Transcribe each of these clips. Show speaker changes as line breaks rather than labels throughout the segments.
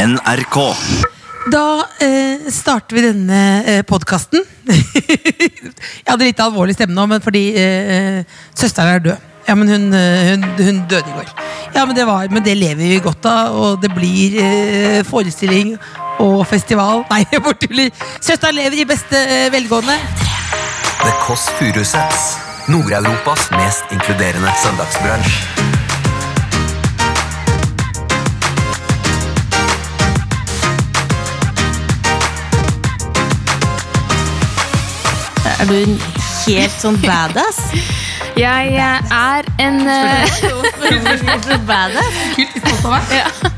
NRK.
Da eh, starter vi denne eh, podkasten. jeg hadde litt alvorlig stemme nå, men fordi eh, søsteren er død. Ja, men hun, eh, hun, hun døde i går. Ja, men det, var, men det lever vi godt av, og det blir eh, forestilling og festival. Nei, jeg bare tuller. Søsteren lever i beste eh, velgående.
The Kåss Furuseths. Nord-Europas mest inkluderende søndagsbransj.
Er du en helt sånn badass?
Jeg eh, er en eh,
badass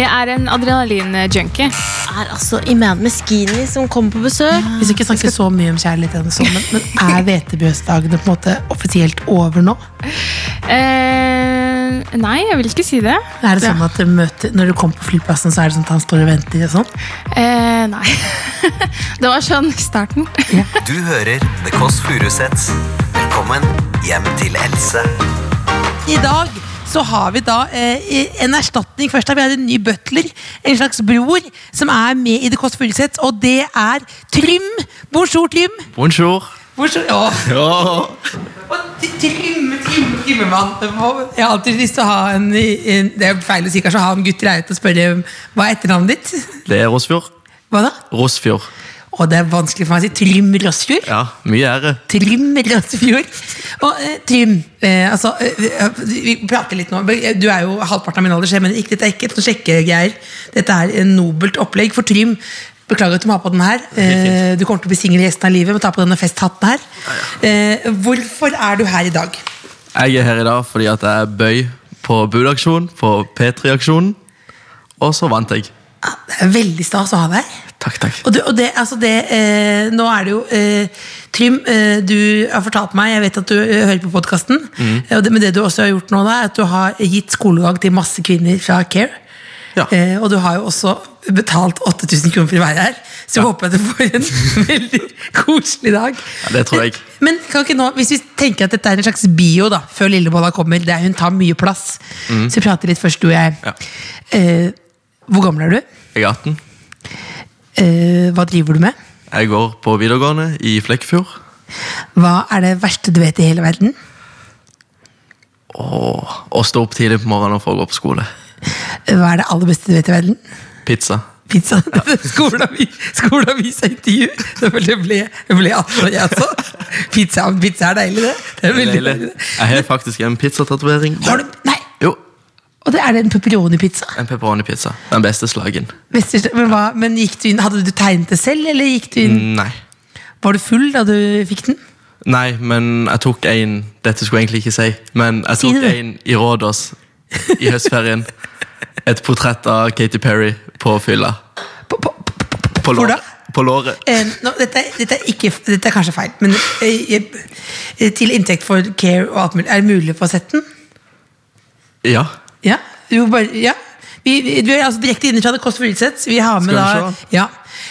Jeg er en adrenalinjunkie.
er altså Iman Meskini som kommer på besøk.
Hvis vi ikke snakker så mye om kjærlighet denne sommeren, men er hvetebjøsdagene på en måte offisielt over nå?
Eh, nei, jeg vil ikke si det.
Er det sånn at Når du kommer på flyplassen, så er det sånn at han står og venter? og sånn?
Eh, nei. det var sånn i starten.
Du hører The Kåss Furuseths. Velkommen hjem til Else.
I dag så har vi da eh, en erstatning. Først har vi hatt en ny butler, en slags bror, som er med i The Kåss Furuseth, og det er Trym. Bonjour, Trym.
Bonjour.
Bonjour. Åh, og Trym, Trym, Trymmemann. Jeg har alltid lyst til å ha en, en Det er feil å si kanskje å ha en gutt i leiligheten og spørre hva er etternavnet ditt.
Det er Rosfjord.
Hva da?
Rosfjord.
Å, det er vanskelig for meg å si Trym Rossfjord.
Ja, mye ære.
Trym Røsefjord. Og eh, Trym, eh, altså eh, Vi prater litt nå. eh, Du er jo halvparten av min alder, så jeg mener ikke, dette er ikke et sånt sjekkegreier. Dette er en nobelt opplegg for Trym. Beklager at du må ha på den her. Eh, Du kommer til å bli singel resten av livet. Må ta på denne festhatten her. Eh, Hvorfor er du her i dag?
Jeg er her i dag fordi at jeg bøy på budaksjon, på P3-aksjonen. Og så vant jeg.
Ah, Det er veldig stas å ha deg her.
Takk, takk.
Og, du, og det, altså det eh, Nå er det jo eh, Trym, eh, du har fortalt meg, jeg vet at du eh, hører på podkasten,
Mhm.
eh, og det, men det du også har gjort nå, da, er at du har gitt skolegang til masse kvinner fra Care.
Ja.
Eh, og du har jo også betalt 8000 kroner for å være her, så jeg håper at du får en veldig koselig dag.
Ja, det tror jeg.
Men kan ikke nå, hvis vi tenker at dette er en slags bio da, før Lillebolla kommer, der hun tar mye plass, så vi prater litt først, du og jeg.
Mhm. Ja.
Eh, hvor gammel er du?
Jeg er 18.
Eh, hva driver du med?
Jeg går på videregående i Flekkefjord.
Hva er det verste du vet i hele verden?
Og, og står opp tidlig på morgenen for å gå på skole.
Hva er det aller beste du vet i verden?
Pizza.
Pizza. Ja. Skoleavisa intervju. Det ble, det ble, det ble 18 år, jeg også. altså. Pizza, pizza er deilig, det. det er veldig
Deilig.
deilig. det.
Jeg har faktisk en pizzatatovering.
Har du, nei,
Jo,
og det er det en pepperoni-pizza?
en pepperoni-pizza. Den beste slagen.
Vesters- Men, hva, men gikk du inn, hadde du tegnet det selv, eller gikk du inn?
Nei.
Var du full da du fikk den?
Nei, men jeg tok en Dette skulle jeg egentlig ikke si, men jeg
Si
tok
det.
en i Rådås i høstferien. Et portrett av Katy Perry på fylla.
På, på, på,
På,
Hvor
lår-
da?
på låret.
Eh, nå, dette, er- dette, er ikke, dette er kanskje feil, men eh, jeg- eh, til inntekt for care og alt mulig, er det mulig å få sett den?
Ja.
Ja, jo, bare, ja. Vi, vi, du er altså direkte inne fra The Kåss Furuseth. Vi har med
Skal
da
vi se?
ja.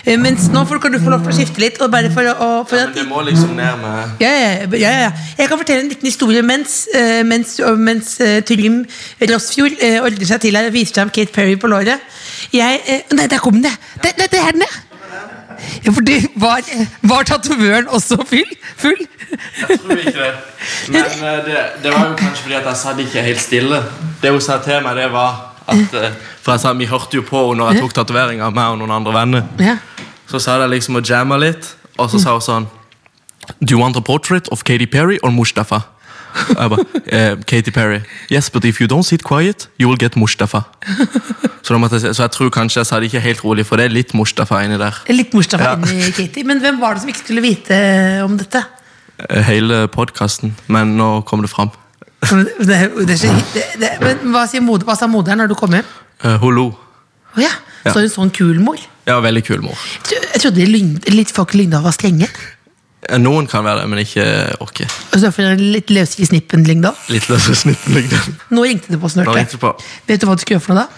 Eh, Mens nå får, kan du få lov til å skifte litt. Og bare for å, og for at,
det må liksom ned med
ja, ja, ja, ja, ja. Jeg kan fortelle en liten historie mens, eh, mens, og mens eh, Trym Rossfjord eh, ordner seg til her og viser fram Kate Perry på låret. Jeg, eh, nei, der kom den, ja. Der, der, der er den, ja. ja! For det var, eh, var tatovøren også full? full?
Jeg tror ikke det. Men eh, det, det var jo kanskje fordi at jeg satt ikke helt stille. Det hun sa til meg, det var at eh, For jeg sa, vi hørte jo på henne når jeg tok tatoveringa, meg og noen andre venner.
Ja.
Så sa jeg liksom og jamma litt, og så sa hun sånn Do you want a portrait of Katy Perry or Mustafa? Og Jeg bare, eh, Katy Perry. Yes, but if you don't sit quiet, you will get Mustafa. Så, da måtte jeg, si- så jeg tror kanskje jeg sa det ikke helt rolig, for det er litt Mustafa inni der.
Litt Mustafa
Ja.
inni Katie. Men hvem var det som ikke skulle vite om dette?
Eh, Hele podkasten. Men nå kom det fram.
Men Det, det, er så- det, det, men hva, sier moder, hva sa moderen når du kom hjem?
Eh, Hun lo.
Å ja,
Ja.
så er hun sånn kul mor.
Ja, veldig kul mor.
Jeg tro- Jeg trodde Lyng- litt folk i Lyngdal var strenge.
Eh, Noen kan være det, men ikke Åke.
Og så er det litt løsere i snippen Lyngdal.
Litt løsere snitt. liksom.
Nå ringte det på oss,
Nå
hørte
ringte det
jeg.
på.
Vet du hva du skal gjøre for noe da?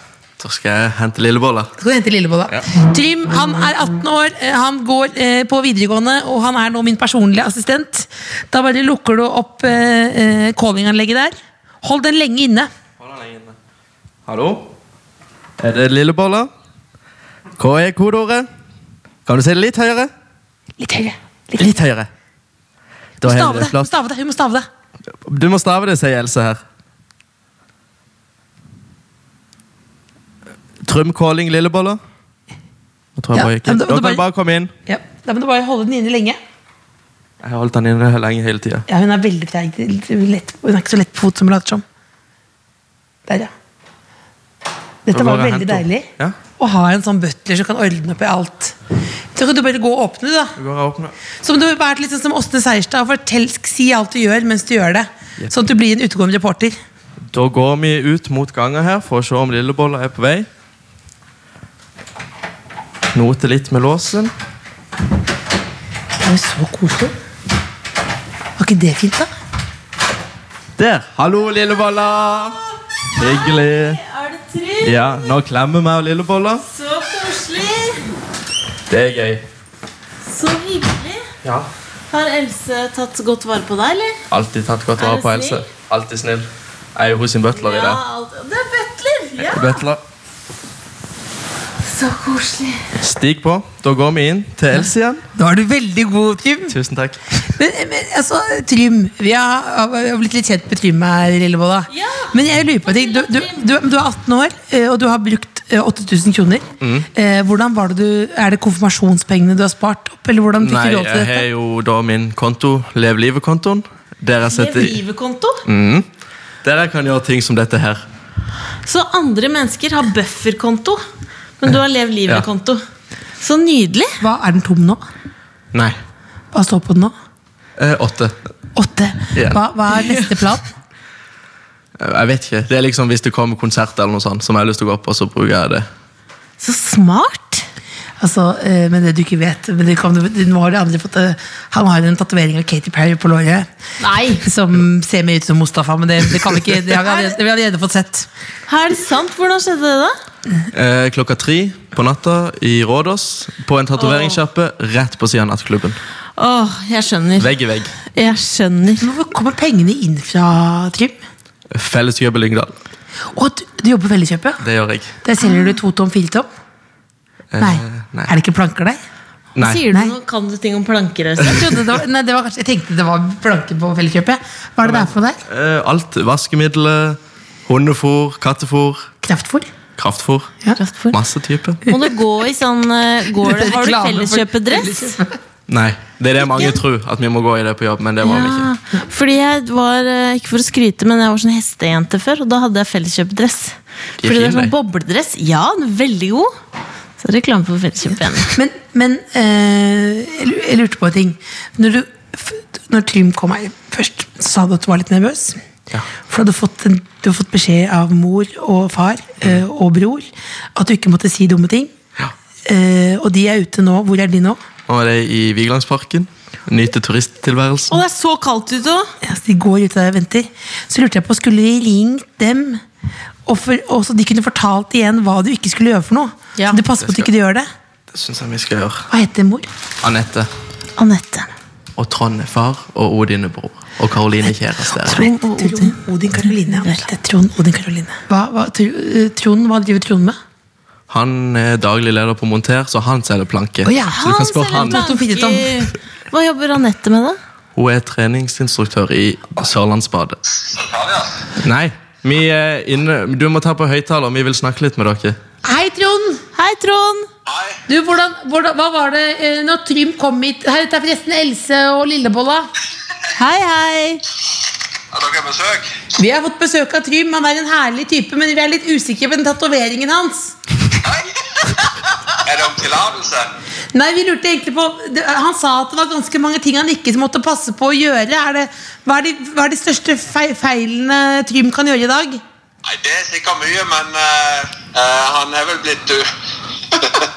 Da skal jeg hente lillebolla.
Skal du hente Lillebolla? Trym han er 18 år, eh, han går eh, på videregående, og han er nå min personlige assistent. Da bare lukker du opp eh, eh, callinganlegget der. Hold den lenge inne.
Hallo? Er det lillebolla? Hva er kodeordet? Kan du si det litt høyere?
Litt høyere.
Litt høyere. Da er
Stave
det
det.
klart.
Stave det. Vi må stave det.
Du må stave det, sier Else her. Trumkåling lilleboller. Nå tror
Ja,
jeg bare jeg
men
gikk
det-
inn. Da
det
kan du
bare-
bare komme inn.
Ja. Da må du bare holde den inne lenge.
Jeg har holdt den inne lenge hele tida.
Ja, hun er veldig treig. Litt lett- Hun er ikke så lett på fot som hun later som. Der, ja. Dette
Da går
var
jeg og
veldig
henter
deilig.
opp. Ja.
Å ha en sånn butler som kan ordne opp i alt. Så kan du bare gå og åpne, da.
Du går og åpner.
Som du har vært litt sånn som Åsne Seierstad. Fortell, si alt du gjør mens du gjør det. Sånn at du blir en utegående reporter.
Da går vi ut mot gangen her for å se om lilleboller er på vei. Note litt med låsen.
Det er jo så koselig. Var ikke det fint, da?
Der! Hallo, lilleboller! Hyggelig.
Er det trygg?
Ja, nå klemmer vi og lilleboller.
Så koselig!
Det er gøy.
Så hyggelig.
Ja.
Har Else tatt godt vare på deg, eller?
Alltid tatt godt vare
Er du
på Else.
snill?
Alltid snill. Jeg er jo hos sin butler i dag.
Det er butler! Ja.
Butler.
Så koselig.
Stig på. Da går vi inn til Else igjen.
Nå er du veldig god, Trym.
Tusen takk.
Men, men altså, Trym Vi har, vi har blitt litt kjent med Trym her, Lillebolla.
Ja.
Men jeg lurer på en ting. Du, du, du, du er 18 år, eh, og du har brukt eh, 8000 kroner.
Mm.
Eh, Hvordan var det du, Er det konfirmasjonspengene du har spart opp? Eller hvordan fikk
Nei,
du råd til
jeg har
dette?
jo da min konto, Lev livet-kontoen. Der jeg
Med
setter
drivekonto.
mm, Der jeg kan gjøre ting som dette her.
Så andre mennesker har bufferkonto, men du har Lev livet-konto. Så nydelig.
Hva, er den tom nå?
Nei.
Hva står på den nå?
Eh, åtte.
Åtte.
Ja.
Hva, hva er neste plan?
Eh, Jeg vet ikke. Det er liksom hvis det kommer konsert eller noe sånt som jeg har lyst til å gå på, så bruker jeg det.
Så smart.
Altså, eh, men det du ikke vet men det kan, du- Nå har de andre fått eh, Han har en tatovering av Katy Perry på låret
Nei,
som ser mer ut som Mustafa, men det, det kan vi ikke Det har vi allerede, det har vi allerede fått sett.
er det sant? Hvordan skjedde det, da?
Eh, klokka tre på natta i Rådås, på en tatoveringssjappe rett på siden av nattklubben.
Åh, jeg skjønner.
Vegg i vegg.
Jeg skjønner.
Hvor kommer pengene inn fra, Trym?
Felleskjøp i Lyngdal.
Og du, du jobber på Felleskjøpet?
Det gjør jeg.
Der selger du to tom, fire tom? Nei.
nei.
Er det ikke planker der?
Nei.
Sier du
Nei.
noe? Kan du ting om planker? Øystein?
Jeg, trodde det var, nei, det var kanskje, jeg tenkte det var planker på Felleskjøpet. Hva er det der for der?
Eh, alt. Vaskemidler, hundefôr, kattefôr,
Kraftfôr?
kraftfôr.
Ja.
Masse type.
Må du gå i sånn eh, går det, Har du
Reklame for
felleskjøpedress?
Nei, det er det mange tror, at vi må gå i det på jobb, men det må vi
Ja,
ikke.
fordi jeg var, eh, ikke for å skryte, men jeg var sånn hestejente før, og da hadde jeg felleskjøpedress.
De er
Fordi det er
fine,
sånn
de.
bobledress. Ja, den er veldig god. Så reklame for felleskjøpet igjen.
Men, men eh, jeg lu- jeg lurte på en ting. Når, du, f- når Trym kom her først, så sa du at du var litt nervøs.
Ja.
For du hadde, fått en, du hadde fått beskjed av mor og far
Mm.
eh, og bror at du ikke måtte si dumme ting. Eh, og de er ute nå. Hvor er de nå?
Nå er det i Vigelandsparken. Nyte turisttilværelsen.
Og det er så kaldt ute òg!
Ja, så de går ute der og venter. Så lurte jeg på, skulle de ringt dem? Og, for, og så de kunne fortalt igjen hva du ikke skulle gjøre for noe.
Ja.
Så du passer på at du ikke gjør det.
Det syns jeg vi skal gjøre.
Hva heter mor?
Anette
Anette.
og Trond er far, og Odin er bror. Og Karoline kjæreste. er-
Trond og Odin. Odin Karoline. ja. Det er Trond Odin Karoline. Hva, hva, Tr- eh, Trond, hva driver Trond med?
Han er daglig leder på Monter, så han selger planke.
Å ja,
så du kan spørre
selger
han.
Tom Fittetom.
planker. Hva jobber Anette med, da?
Hun er treningsinstruktør i Sørlandsbadet. Nei, vi er inne Du må ta på høyttaler, vi vil snakke litt med dere.
Hei, Trond!
Hei, Trond!
Du, hvordan, hvordan, hva var det eh, når Trym kom hit? Hei, dette er forresten Else og Lillebolla.
Hei, hei!
Er dere besøk?
Vi har fått besøk av Trym. Han er en herlig type, men vi er litt usikre på den tatoveringen hans.
Nei? Er det om tillatelse?
Nei, vi lurte egentlig på det, Han sa at det var ganske mange ting han ikke måtte passe på å gjøre. Er det, hva, er de, hva er de største fei- feilene Trym kan gjøre i dag?
Nei, det er sikkert mye, men eh, eh, han er vel blitt død.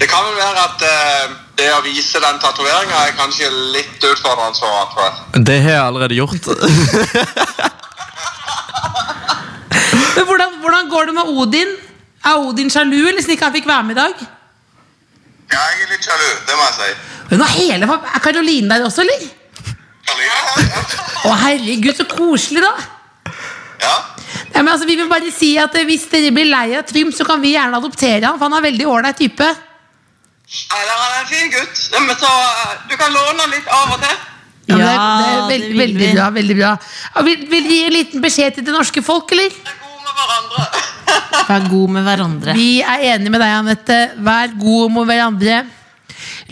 det kan vel være at eh, det å vise den tatoveringa er kanskje litt utfordrende for han. tror jeg.
Det har jeg allerede gjort.
Men hvordan, hvordan går det med Odin? Er Odin sjalu, eller slik han fikk være med i dag?
Ja, jeg er litt sjalu, det må jeg si.
Hun har hele, fam- Er Karoline der også, eller?
Sjalu?
Å, herregud, så koselig, da!
Ja.
Det er Ja, men altså, vi vil bare si at eh, Hvis dere blir lei av Trym, så kan vi gjerne adoptere han, for han er veldig ålreit type.
Eller han er en fin gutt. Ja, Men så eh, du kan låne han litt av og til.
Ja, men
Ja,
det, det er
det
veld,
vil
veldig
vi.
bra. veldig bra Ja, vil, vil dere gi en liten beskjed til det norske folk, eller?
Vi er gode med hverandre.
Vær god med hverandre.
Vi er enige med deg, Anette. Vær gode mot hverandre.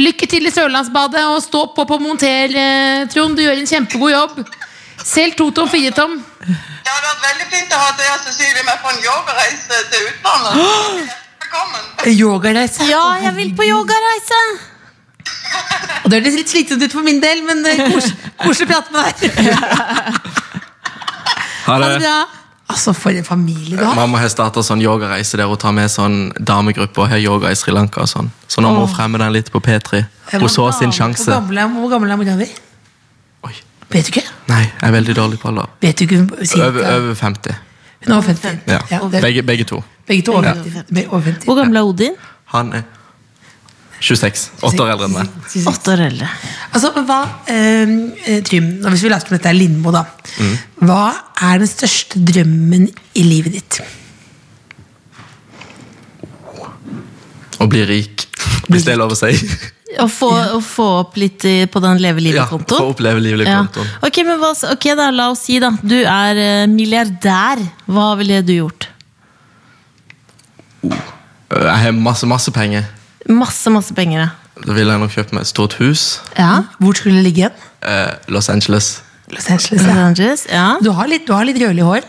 Lykke til i Sørlandsbadet, og stå på på monter, eh, Trond. Du gjør en kjempegod jobb. Selv totom, firetom.
Det hadde vært veldig fint å ha Thea Cecilie med på en yogareise til utlandet. Velkommen.
Yogareise.
Ja, jeg vil på yogareise!
Og det høres litt slitsomt ut for min del, men eh, kos- koselig å prate med deg.
Ha
Ha det
det.
bra. Altså, for en familie du har.
Mamma har starta sånn yogareise der hun tar med sånn damegruppe og har yoga i Sri Lanka. og sånn. Så nå må hun fremme den litt på P3. Hun så sin
Hvor
sjanse.
gammel er, hvor gammel er mora di?
Oi.
Vet du ikke?
Nei, jeg er veldig dårlig på alder.
Vet du ikke hun cirka?
Over, over 50.
Hun er over 50.
Ja.
Ja, det-
Begge, begge to.
begge to over, be- over 50.
Hvor gammel er Odin?
Han er 26. Åtte år eldre enn meg.
Åtte år eldre.
Altså, men hva, eh, eh, Trym, nå hvis vi lærte om dette er Lindmo, da.
Mm.
Hva er den største drømmen i livet ditt?
Og blir rik, hvis det er lov å si.
Å få, å få opp litt eh, på den leve
Ja,
livet-kontoen?
Få oppleve livet i
Ja.
kontoen.
Ok, men hva, ok da, La oss si, da. Du er eh, milliardær. Hva ville du gjort?
Eh, Jeg har masse, masse penger.
Masse, masse penger, ja.
Da ville jeg nok kjøpt meg et stort hus.
ja.
Hvor skulle det ligge igjen?
Eh, Los Angeles.
Los Angeles,
Los
ja.
Angeles, ja.
Du har litt, du har litt rødlig hår.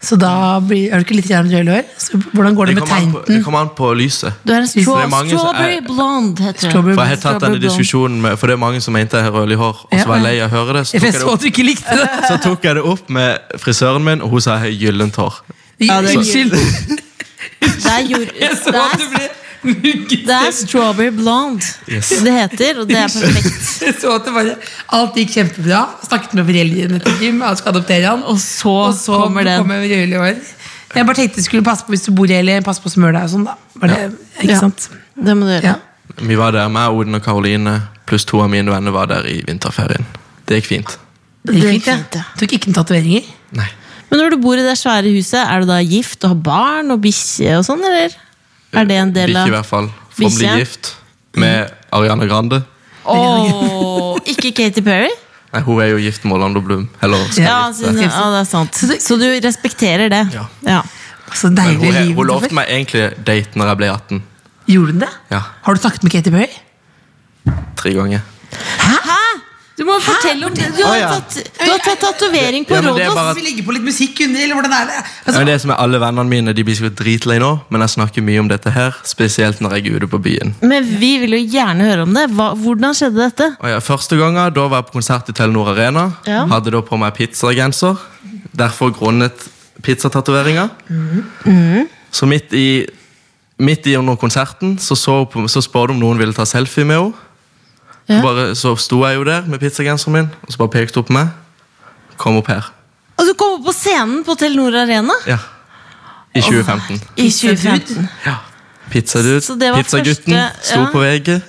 Så da blir, er du ikke litt grann rødlig hår? Så hvordan går det,
Det
med
kommer an på, det
teinten?
kommer an på lyset.
Du er en straw,
Det er mange som er-
strawberry blonde, heter det.
Strawberry-
For jeg har tatt denne
Strawberry blonde.
diskusjonen med, For det er mange som mente jeg har rødlig hår, og så var jeg lei av å høre det. Så
Jeg
tok jeg det
så at
opp,
du ikke likte det.
så tok jeg det opp med frisøren min, og hun sa jeg har gyllent hår.
Ja, det er
Unnskyld.
Det er, jord,
Jeg så at du
det,
ble mugget.
er, det er strawberry blonde
Yes.
det heter, og det er perfekt.
Jeg så at det bare, alt gikk kjempebra. Snakket med foreldrene til Jim, han skal adoptere han.
Og så kommer den.
rødlig hår. Jeg bare tenkte du skulle passe på hvis du bor i LA, passe på å smøre deg og sånn, da. Var det, Ikke
Ja.
sant?
Det må du gjøre.
Ja.
Vi var der, meg, Odin og Karoline pluss to av mine venner var der i vinterferien. Det gikk fint.
Det
Det
gikk
gikk
fint,
fint,
ja.
ja.
Tok ikke noen tatoveringer.
Nei.
Men når du bor i det svære huset, er du da gift og har barn og bikkje og sånn, eller? Er det en del
Bikkje, i
av Mm.
hvert fall. For å bli
Bikkje?
gift med Ariana Grande.
Åh, Ikke Katy Perry?
Nei, hun er jo gift med Orlando Bloom. Eller skal
Ja,
Ja,
gifte
altså,
seg.
ja, det er sant. Så du respekterer det?
Ja.
ja.
Så deilig
hun, er-
liv.
hun lovte meg egentlig date når jeg ble 18.
Gjorde hun det?
Ja.
Har du snakket med Katy Perry?
Tre ganger.
Du må fortelle om det. Du
Å,
har
ja.
tatt, du har tatt tatovering på
Ja, men det er
Rådås.
bare-
Skal vi legge på litt musikk under, eller hvordan er det? Altså,
Ja, men det som er Alle vennene mine de blir sikkert dritlei nå, men jeg snakker mye om dette her. Spesielt når jeg er ute på byen.
Men vi vil jo gjerne høre om det. Hva, hvordan skjedde dette?
Og ja, første gangen, Da var jeg på konsert i Telenor Arena.
Ja.
Hadde da på meg pizzagenser. Derfor grunnet pizzatatoveringa. Så midt i, midt i under konserten så, så, hun på- så spurte hun om noen ville ta selfie med henne.
Ja.
Så Bare, så sto jeg jo der med pizzagenseren min, og så bare pekte hun på meg. Kom opp her.
Og du kom opp på scenen på Telenor Arena
Ja. I 2015.
i 2015.
Ja. Pizzadude.
Så det var
Pizzagutten
første-
sto
ja.
på VG.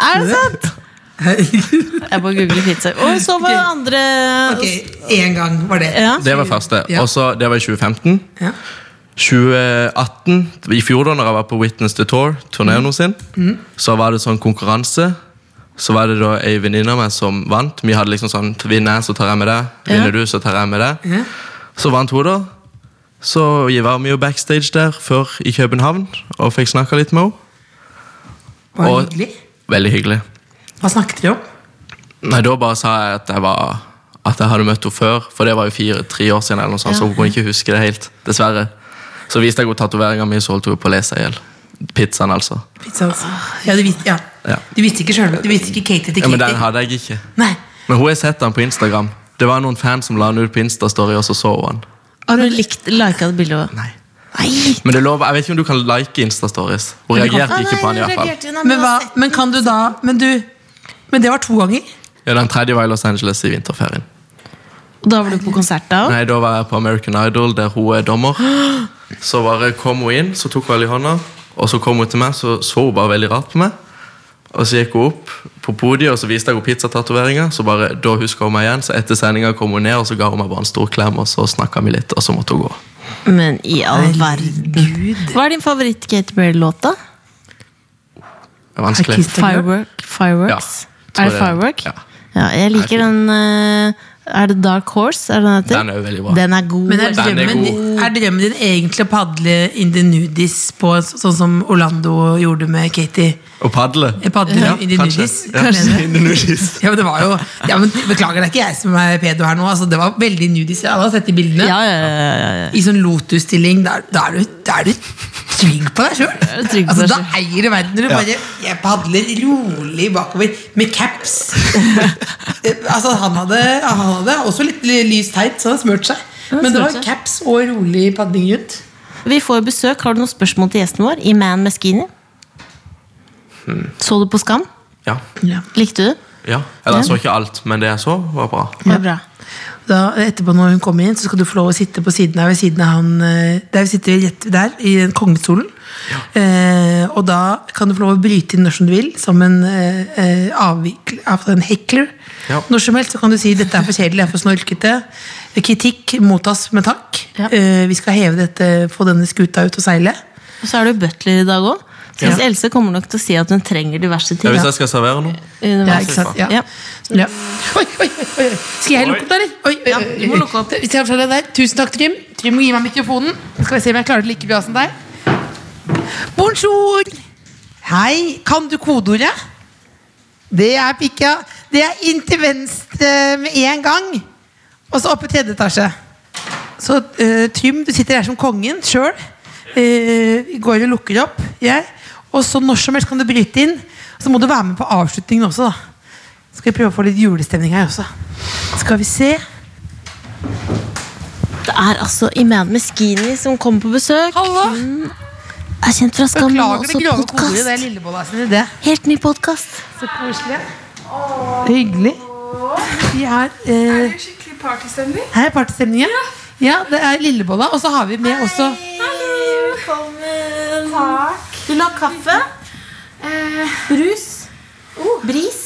Er det sant? Jeg bare googler pizza. Og så var det andre
ok, én gang var det.
Ah. ja.
Det var første.
Ja.
Og så, det var i 2015.
Ja.
2018, i fjor da når jeg var på Witness to Tour, turneen hos sin, så var det sånn konkurranse. Så var det da ei venninne av meg som vant. Vi hadde liksom sånn Vinner jeg, så tar jeg med deg. Vinner du, så tar jeg med deg.
Ja.
Så vant hun, da. Så jeg var vi jo backstage der før i København og fikk snakka litt med henne.
Var det
Og-
hyggelig?
Veldig hyggelig.
Hva snakket dere om?
Nei, Da bare sa jeg at jeg var At jeg hadde møtt henne før, for det var jo fire-tre år siden. eller noe sånt, Så hun kunne ikke huske det helt, dessverre. Så viste jeg henne tatoveringa mi, så holdt hun på å le seg i hjel. Pizzaen, altså.
Pizza, altså. Ja, du visste, ja.
Ja.
Du visste ikke sjøl. Du visste ikke Katie til
Ja, Men den
Katie.
hadde jeg ikke.
Nei.
Men hun har sett den på Instagram. Det var noen fans som la den ut på Insta-story, og så så hun den.
Har du likt, liket det bildet?
Nei.
Nei!
Men det er lov, jeg vet ikke om du kan like Insta-stories. Hun reagerte ikke på den, i hvert fall.
Men, hva, men kan du da Men du Men det var to ganger?
Ja, Den tredje var i Los Angeles i vinterferien.
Og da var du på konsert da òg?
Nei, Da var jeg på American Idol, der hun er dommer. Så bare kom hun inn, så tok hun alle i hånda. Og så kom hun til meg, så så hun bare veldig rart på meg. Og så gikk hun opp på podiet og så viste jeg henne pizzatatoveringa. Så bare, da huska hun meg igjen, så etter sendinga kom hun ned og så ga hun meg bare en stor klem. Og så snakka vi litt, og så måtte hun gå.
Men i all verden. Hva er din favoritt-Katy Perry-låt, da?
Det er vanskelig.
Kiss-
Firework, Fireworks? er
Ja,
det
tror jeg-
Firework?
ja.
Ja, jeg liker
Det er
den eh, Er det Dark Horse? Er det den, heter?
Den er jo veldig bra.
Den er god.
Men er
Den er
drømmen,
god.
er drømmen din egentlig å padle in the nudies på så- sånn som Orlando gjorde med Katie?
Og padle.
Eh, Padle in the nudies?
Ja,
Mener du?
in the nudies.
Ja, men det var jo ja, men Beklager, det er ikke jeg som er pedo her nå. Altså, det var veldig nudies. Jeg har sett de bildene.
ja, ja, ja, ja, ja.
I sånn Lotus-stilling. Da, er- da, er du- da er du trygg på deg sjøl.
er du trygg på
Altså,
deg
da
selv.
eier du verden. Når du bare Jeg padler rolig bakover med caps. Eh, altså, han hadde, han hadde også litt lyst teit, så han smurt seg.
Ja,
Men det
smurt
var
seg.
caps og rolig padling rundt.
Vi får besøk. Har du noen spørsmål til gjesten vår i Man Meskini?
Hmm.
Så du på Skam?
Ja.
Ja.
Likte du det?
ja. Eller jeg så ikke alt, men det jeg så, var bra.
Det var bra.
Da, etterpå når hun kommer inn, så skal du få lov å sitte på siden av, ved siden av han eh, Der vi sitter rett der, i den kongestolen. Eh, og da kan du få lov å bryte inn når som du vil, som en eh, eh, avvikler, altså en hekler.
Ja.
Når som helst så kan du si 'dette er for kjedelig, jeg er for snorkete'. Kritikk mottas med takk.
Ja.
Eh, vi skal heve dette, få denne skuta ut og seile.
Og så er du butler i dag òg. Så
Ja.
hvis Else kommer nok til å si at hun trenger diverse
Ja,
ting.
hvis jeg skal servere noe.
underveis.
Ja, ikke sant? Ja.
Ja.
Ja. Oi, oi, oi, oi. Skal jeg lukke opp, da, eller? Oi, oi,
Ja, du må
oi.
lukke opp.
Hvis jeg får det der. Tusen takk, Trym. Trym må gi meg mikrofonen. Skal vi se om jeg klarer det like bra som deg. Bonjour! Hei. Kan du kodeordet? Det er pikka. Det er inn til venstre med en gang. Og så opp i tredje etasje. Så eh, Trym, du sitter her som kongen sjøl. Eh, går og lukker opp. Jeg. Og så når som helst kan du bryte inn. Så må du være med på avslutningen også, da. Skal vi prøve å få litt julestemning her også. Skal vi se.
Det er altså Iman Meskini som kommer på besøk. Mm.
Hallo!
Er kjent fra Skam, men
Beklager
også
det grove koret. Det er
podkast.
Lillebolla sin idé.
Helt ny podkast.
Så koselig. Hyggelig. Vi er eh,
Skikkelig partystemning.
Her er partystemningen. Ja, det er Lillebolla. Og så har vi med også
Velkommen. Vil du ha kaffe?
Eh.
Brus? Bris?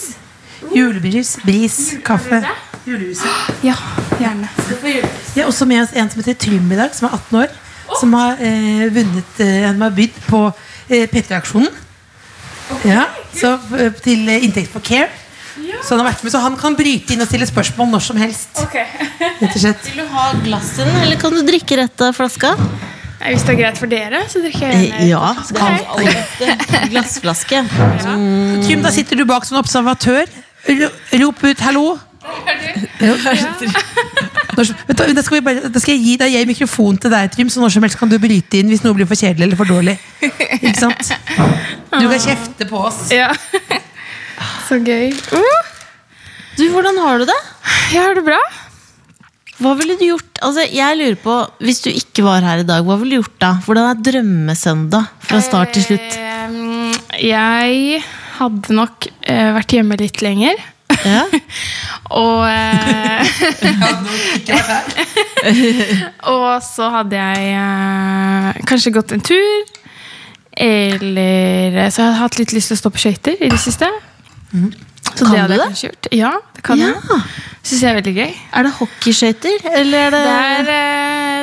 Oh. julebrus, bris, kaffe. Julehuset.
Ja, gjerne.
Vi har også med oss en som heter Trym i dag, som er 18 år. Som har eh, vunnet eh, Han har bydd på eh, P3-aksjonen. Ja, så, eh, til eh, inntekt for Care. Så han har vært med, så han kan bryte inn og stille spørsmål når som helst.
Ok. Nei,
Rett og slett.
Vil du ha glass i den, eller kan du drikke rett av flaska?
hvis det er greit for dere, så drikker jeg gjerne.
det er jo aller beste. Glassflaske.
Trym, da sitter du bak som observatør. Ro- Rop ut 'hallo'. Jo. Når som- Vet du, hva, Da skal, vi bare, da skal jeg gi deg jeg mikrofon til deg, Trym, så når som helst kan du bryte inn hvis noe blir for kjedelig eller for dårlig. Ikke sant? Du kan kjefte på oss.
Ja. Så gøy. Uh,
Du, hvordan har du det?
jeg har det bra.
Hva ville du gjort? Altså, jeg lurer på, Hvis du ikke var her i dag, hva ville du gjort da? Hvordan er drømmesøndag fra start til slutt?
Ehm, Jeg hadde nok eh, vært hjemme litt lenger. Eh,
Ja.
Og, eh, og så hadde jeg eh, kanskje gått en tur. Eller eh, Så jeg hadde hatt litt lyst til å stå på skøyter i det siste. Så
Kan
det hadde
du det?
jeg kanskje gjort. Ja, det kan
Ja.
jeg. Syns jeg er veldig gøy.
Er det hockeyskøyter, eller er det
Det er, eh,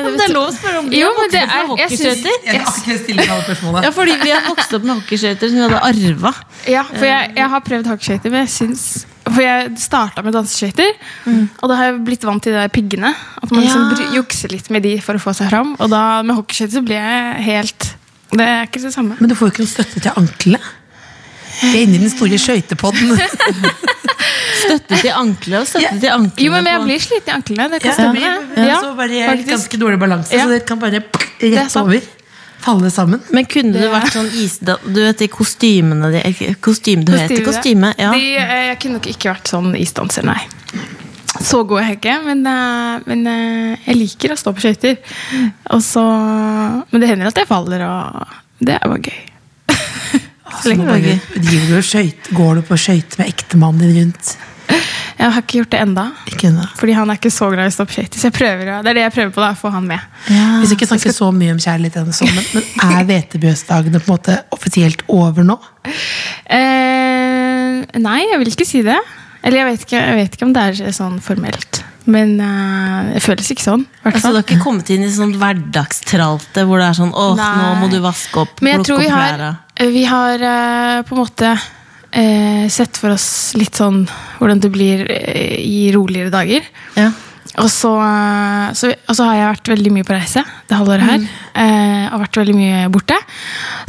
Men det er lov å spørre om det.
Jo,
Jeg
men det
vokste opp
er-
med
jeg syns-
hockeyskøyter.
Jeg kan ikke stille alle spørsmålene.
Ja, fordi vi har vokst opp med hockeyskøyter som vi hadde arva.
Ja, for jeg, jeg har prøvd hockeyskøyter, men jeg syns For jeg starta med danseskøyter, og da har jeg blitt vant til de der piggene. At man liksom
Ja.
bru- jukser litt med de for å få seg fram. Og da med hockeyskøyter så blir jeg helt Det er ikke det samme.
Men du får jo ikke noe støtte til anklene. Vi er inne i den store skøytepodden.
Støtte til ankle og støtte til ankle.
Jo, men jeg blir sliten i anklene. Det kan
Ja,
stemme. det. Ja,
så bare jeg har
faktisk.
ganske dårlig balanse,
Ja.
så det kan bare
er
rett
sant.
over. Falle sammen.
Men kunne det vært sånn isda... Du vet de kostymene de eh, Kostyme, du heter kostyme. Ja.
De, eh, jeg kunne nok ikke vært sånn isdanser, nei. Så god er jeg ikke, men, eh, men eh, jeg liker å stå på skøyter.
Mm.
Og så- Men det hender at jeg faller, og det er bare gøy. Så
Så
lenge
nå
det
bare
er gøy.
driver du og skøyt- Går du på skøyter med ektemannen din rundt?
Jeg har ikke gjort det enda
Ikke ennå.
fordi han er ikke så glad i å stå på skøyter. Så jeg prøver, å- det er det jeg prøver på, da, å få han med.
Vi skal ikke
Ah,
snakke så mye om kjærlighet denne sommeren, men er hvetebjøsdagene på en måte offisielt over nå?
Eh, Nei, jeg vil ikke si det. Eller jeg vet ikke, jeg vet ikke om det er sånn formelt. Men eh, det føles ikke sånn. i hvert
Altså,
fall.
du har ikke kommet inn i sånn hverdagstralte hvor det er sånn åh, nå
Nei.
må du vaske opp,
Men jeg
plukke
tror
opp
vi har,
klærne.
vi har eh, på en måte eh, sett for oss litt sånn hvordan det blir eh, i roligere dager.
Ja.
Og så, eh, så, og så har jeg vært veldig mye på reise det halvåret her. eh, og vært veldig mye borte.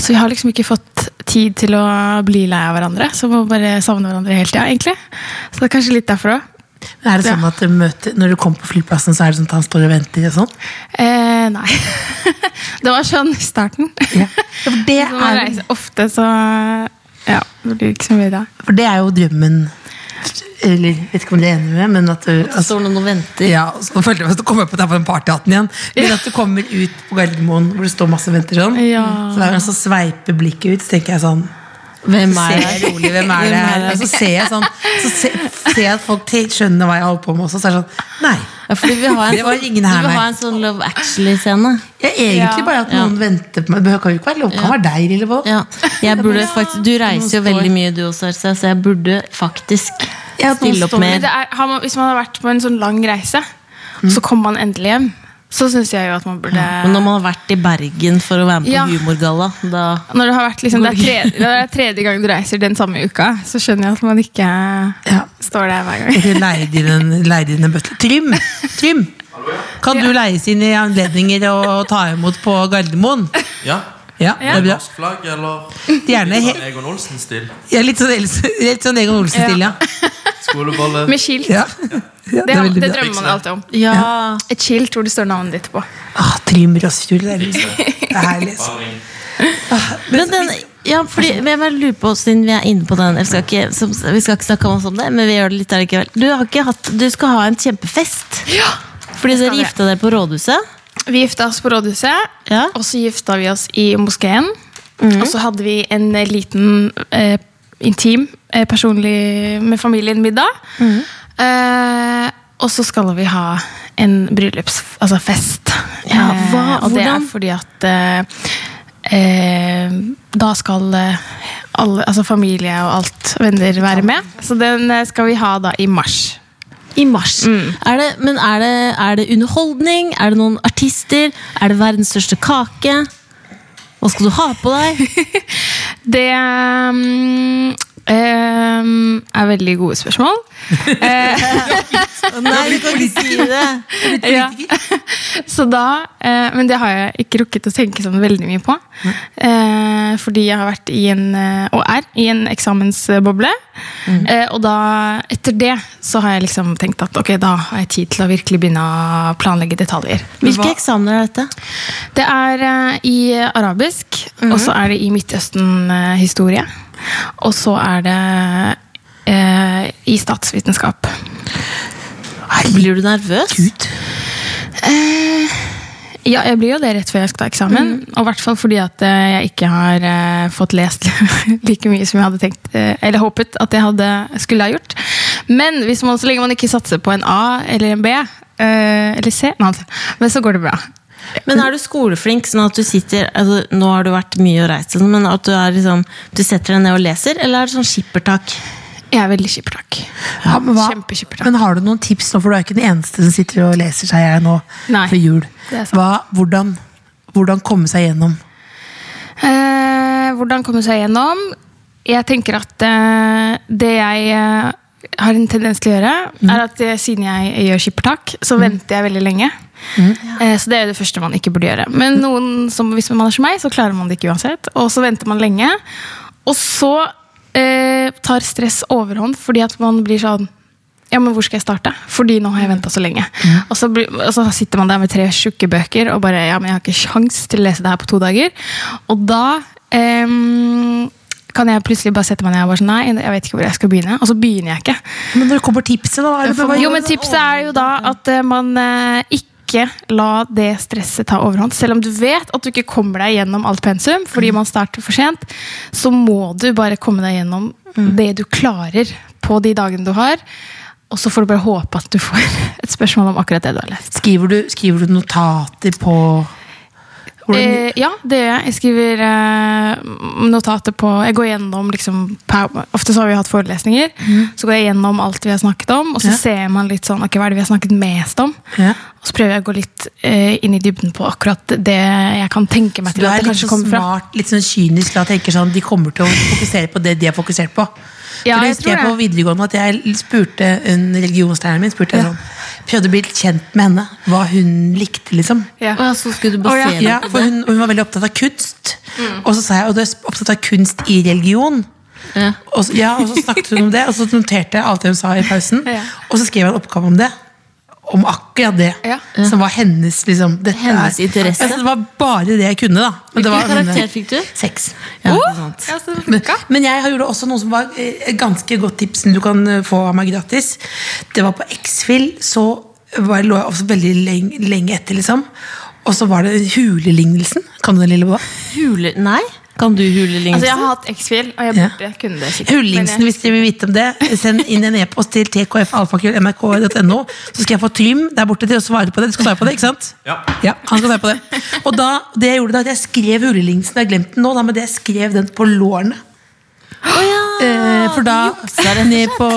Så vi har liksom ikke fått tid til å bli lei av hverandre. Så vi må bare savne hverandre hele tida, egentlig. Så det er kanskje litt derfor òg.
Men er det sånn at dere møter, Når du kommer på flyplassen, så er det sånn at han står og venter? og sånn?
Eh, nei. det var sånn i starten.
Ja. For, det
Så må man
er,
reise ofte, så ja, det blir ikke så mye da.
for det er jo drømmen Eller jeg vet ikke om det er enig med, men at du altså,
Står noen og venter.
ja, og så følte jeg at du kommer på den partyhatten igjen. Men at du kommer ut på Gardermoen hvor det står masse og venter sånn.
Ja.
Så hver gang så sveiper sånn blikket ut, så tenker jeg sånn
Hvem
Ser
er
jeg
det?
rolig, hvem er det her? Og så ser jeg sånn Så ser, ser jeg at folk te- skjønner hva jeg holder på med også, så er det sånn Nei.
Ja, fordi vi har en,
Det var
sånn-
ingen her,
du vil
nei.
ha en sånn Love Actually-scene.
Ja, egentlig
Ja.
bare at noen venter på meg. Det kan jo ikke være lov. Det kan være deg, Lillevold.
Ja. Jeg burde faktisk, du reiser jo
Noen står.
veldig mye, du også, Else, så jeg burde faktisk
Ja, at noen
stille opp
står.
Men
mer.
det er, har man, hvis man har vært på en sånn lang reise, og så kommer man endelig hjem, så syns jeg jo at man burde
Men når man har vært i Bergen for å være med på
Ja.
Humorgalla, da
Når det, har vært liksom, det, er tredje, det er tredje gang du reiser den samme uka, så skjønner jeg at man ikke eh,
Ja.
står der hver gang.
Eller leie din en- leie din en butler. Trym! Trym! Kan du leies inn i anledninger og ta imot på Gardermoen?
Ja.
Ja, det er bra.
Norsk flagg eller
Gjerne he-
sånn Egon Olsen-stil.
Ja, litt sånn, litt sånn Egon Olsen-stil, ja.
Skolebolle.
Med skilt.
ja. ja
Det,
det er veldig
det
bra.
drømmer man alltid om.
Ja.
Et skilt hvor det står navnet ditt på.
Ah, Trym Rossfjord, det er liksom- det er herlig. altså.
Men den, ja, fordi, men jeg bare lurer på, siden vi er inne på den jeg skal ikke, som, Vi skal ikke snakke om oss om det, men vi gjør det litt allikevel. Du, har ikke hatt, du skal ha en kjempefest. Fordi dere
vi.
gifta dere på rådhuset.
Vi gifta oss på rådhuset,
Ja. Mm.
og så gifta vi oss i moskeen. Og så hadde vi en eh, liten eh, intim, eh, personlig med familien middag.
Mm.
Eh, og så skal vi ha en bryllupsfest. Altså fest.
Ja, hva-
eh, og det er
hvordan?
fordi at eh, eh, da skal eh, alle, altså familie og alt, venner, være med. Så den eh, skal vi ha da i mars.
I mars. Mm. Er det, men er det, er det underholdning? Er det noen artister? Er det verdens største kake? Hva skal du ha på deg?
Det mm, ehm, er veldig gode spørsmål.
Nei, du kan ikke si det.
Ja. Så da, eh, men det har jeg ikke rukket å tenke sånn veldig mye på. Eh, fordi jeg har vært i en, eh, og er, i en eksamensboble. Eh, og da, etter det, så har jeg liksom tenkt at ok, da har jeg tid til å virkelig begynne å planlegge detaljer.
Hvilke eksamener er dette?
Det er eh, i arabisk, og så er det i Midtøsten-historie. og så er det eh, i statsvitenskap.
Blir du nervøs?
Gud.
Ja, jeg blir jo det rett før jeg skal ta eksamen. Og i hvert fall fordi at eh, jeg ikke har eh, fått lest like mye som jeg hadde tenkt, eh, eller håpet at jeg hadde, skulle ha gjort. Men hvis man, så lenge man ikke satser på en A eller en B, eh, eller C, nei, altså, men så går det bra.
Men er du skoleflink, sånn at du sitter altså, Nå har du vært mye og reist, sånn, men at du, er liksom, du setter deg ned og leser, eller er det sånn skippertak?
Jeg er veldig skippertak.
Ja, men, hva,
Kjempekjippertak.
men har du noen tips nå, for du er ikke den eneste som sitter og leser seg i hjel nå
Nei,
før jul.
det er sant.
Hva, hvordan, hvordan komme seg gjennom?
Eh, hvordan komme seg gjennom? Jeg tenker at eh, det jeg eh, har en tendens til å gjøre, er at eh, siden jeg gjør skippertak, så venter jeg veldig lenge. Eh, så det er jo det første man ikke burde gjøre. Men noen som, hvis man er som meg, så klarer man det ikke uansett. Og så venter man lenge. Og så eh, tar stress overhånd fordi at man blir sånn ja, men hvor skal jeg starte? Fordi nå har jeg venta så lenge. Og, så blir, og så sitter man der med tre tjukke bøker og bare ja, men jeg har ikke sjans til å lese det her på to dager. Og da em, kan jeg plutselig bare sette meg ned og bare sånn nei, jeg vet ikke hvor jeg skal begynne. Og så begynner jeg ikke.
Men når det kommer tipset, da? hva Er det, hva gjør
Jo,
du
men
da?
tipset er jo da at eh, man eh, ikke la det stresset ta overhånd. Selv om du vet at du ikke kommer deg gjennom alt pensum
Mm.
fordi man starter for sent, så må du bare komme deg gjennom
Mm.
det du klarer på de dagene du har. Og så får du bare håpe at du får et spørsmål om akkurat det du har lest.
Skriver du, skriver du notater på Hvordan,
Eh, ja, det gjør jeg. Jeg skriver eh, notater på Jeg går gjennom liksom pow- Ofte så har vi hatt forelesninger. Så går jeg gjennom alt vi har snakket om, og så
Mhm. Ja.
ser man litt sånn Ok, hva er det vi har snakket mest om?
Ja.
Og så prøver jeg å gå litt eh, inn i dybden på akkurat det jeg kan tenke meg
du
til
er
at det
litt
kanskje
sånn
kommer fra.
smart, litt sånn kynisk da, tenker sånn, de kommer til å fokusere på det de er fokusert på.
Ja,
For det
jeg
husker jeg,
tror
på videregående at jeg spurte en religionslæreren min, spurte jeg sånn, prøvde å bli litt kjent med henne, hva hun likte liksom.
Ja.
Og så skulle du
Å, ja.
basere
Ja, for hun, hun var veldig opptatt av kunst.
Mm.
Og så sa jeg, og du er opptatt av kunst i religion.
Ja.
Og så, ja, og så snakket hun om det, og så noterte jeg alt det hun sa i pausen.
Ja.
Og så skrev jeg en oppgave om det. Om akkurat det.
Ja.
Som var hennes liksom, dette
Hennes
er-
interesse.
Altså, det var bare det jeg kunne, da. Men det var,
Hvilken karakter fikk du?
Seks.
Ja,
Å,
ikke sant.
ja, så det
Men,
funka.
men jeg gjorde også noe som var eh, et ganske godt tips som du kan eh, få av meg gratis. Det var på X-Fill, så var, lå jeg også veldig lenge, lenge etter, liksom. Og så var det hulelignelsen. Kan du den, lille Boa?
Hule... Nei? Kan du hulelignelsen?
Altså, jeg har hatt X-Fil, og jeg
Ja.
burde kunne det sikkert.
Hulelignelsen,
men jeg-
hvis dere vil vite om det, send inn en e-post til tkfalfakrøll.nrk.no, så skal jeg få Trym der borte til å svare på det. Du skal svare på det, ikke sant?
Ja.
han skal svare på det. Og da, det jeg gjorde da, at jeg skrev hulelignelsen, jeg har glemt den nå, da, men det jeg skrev den på lårene.
Å ja,
Eh, for da
du juksa, rett og
ned
slett.
på,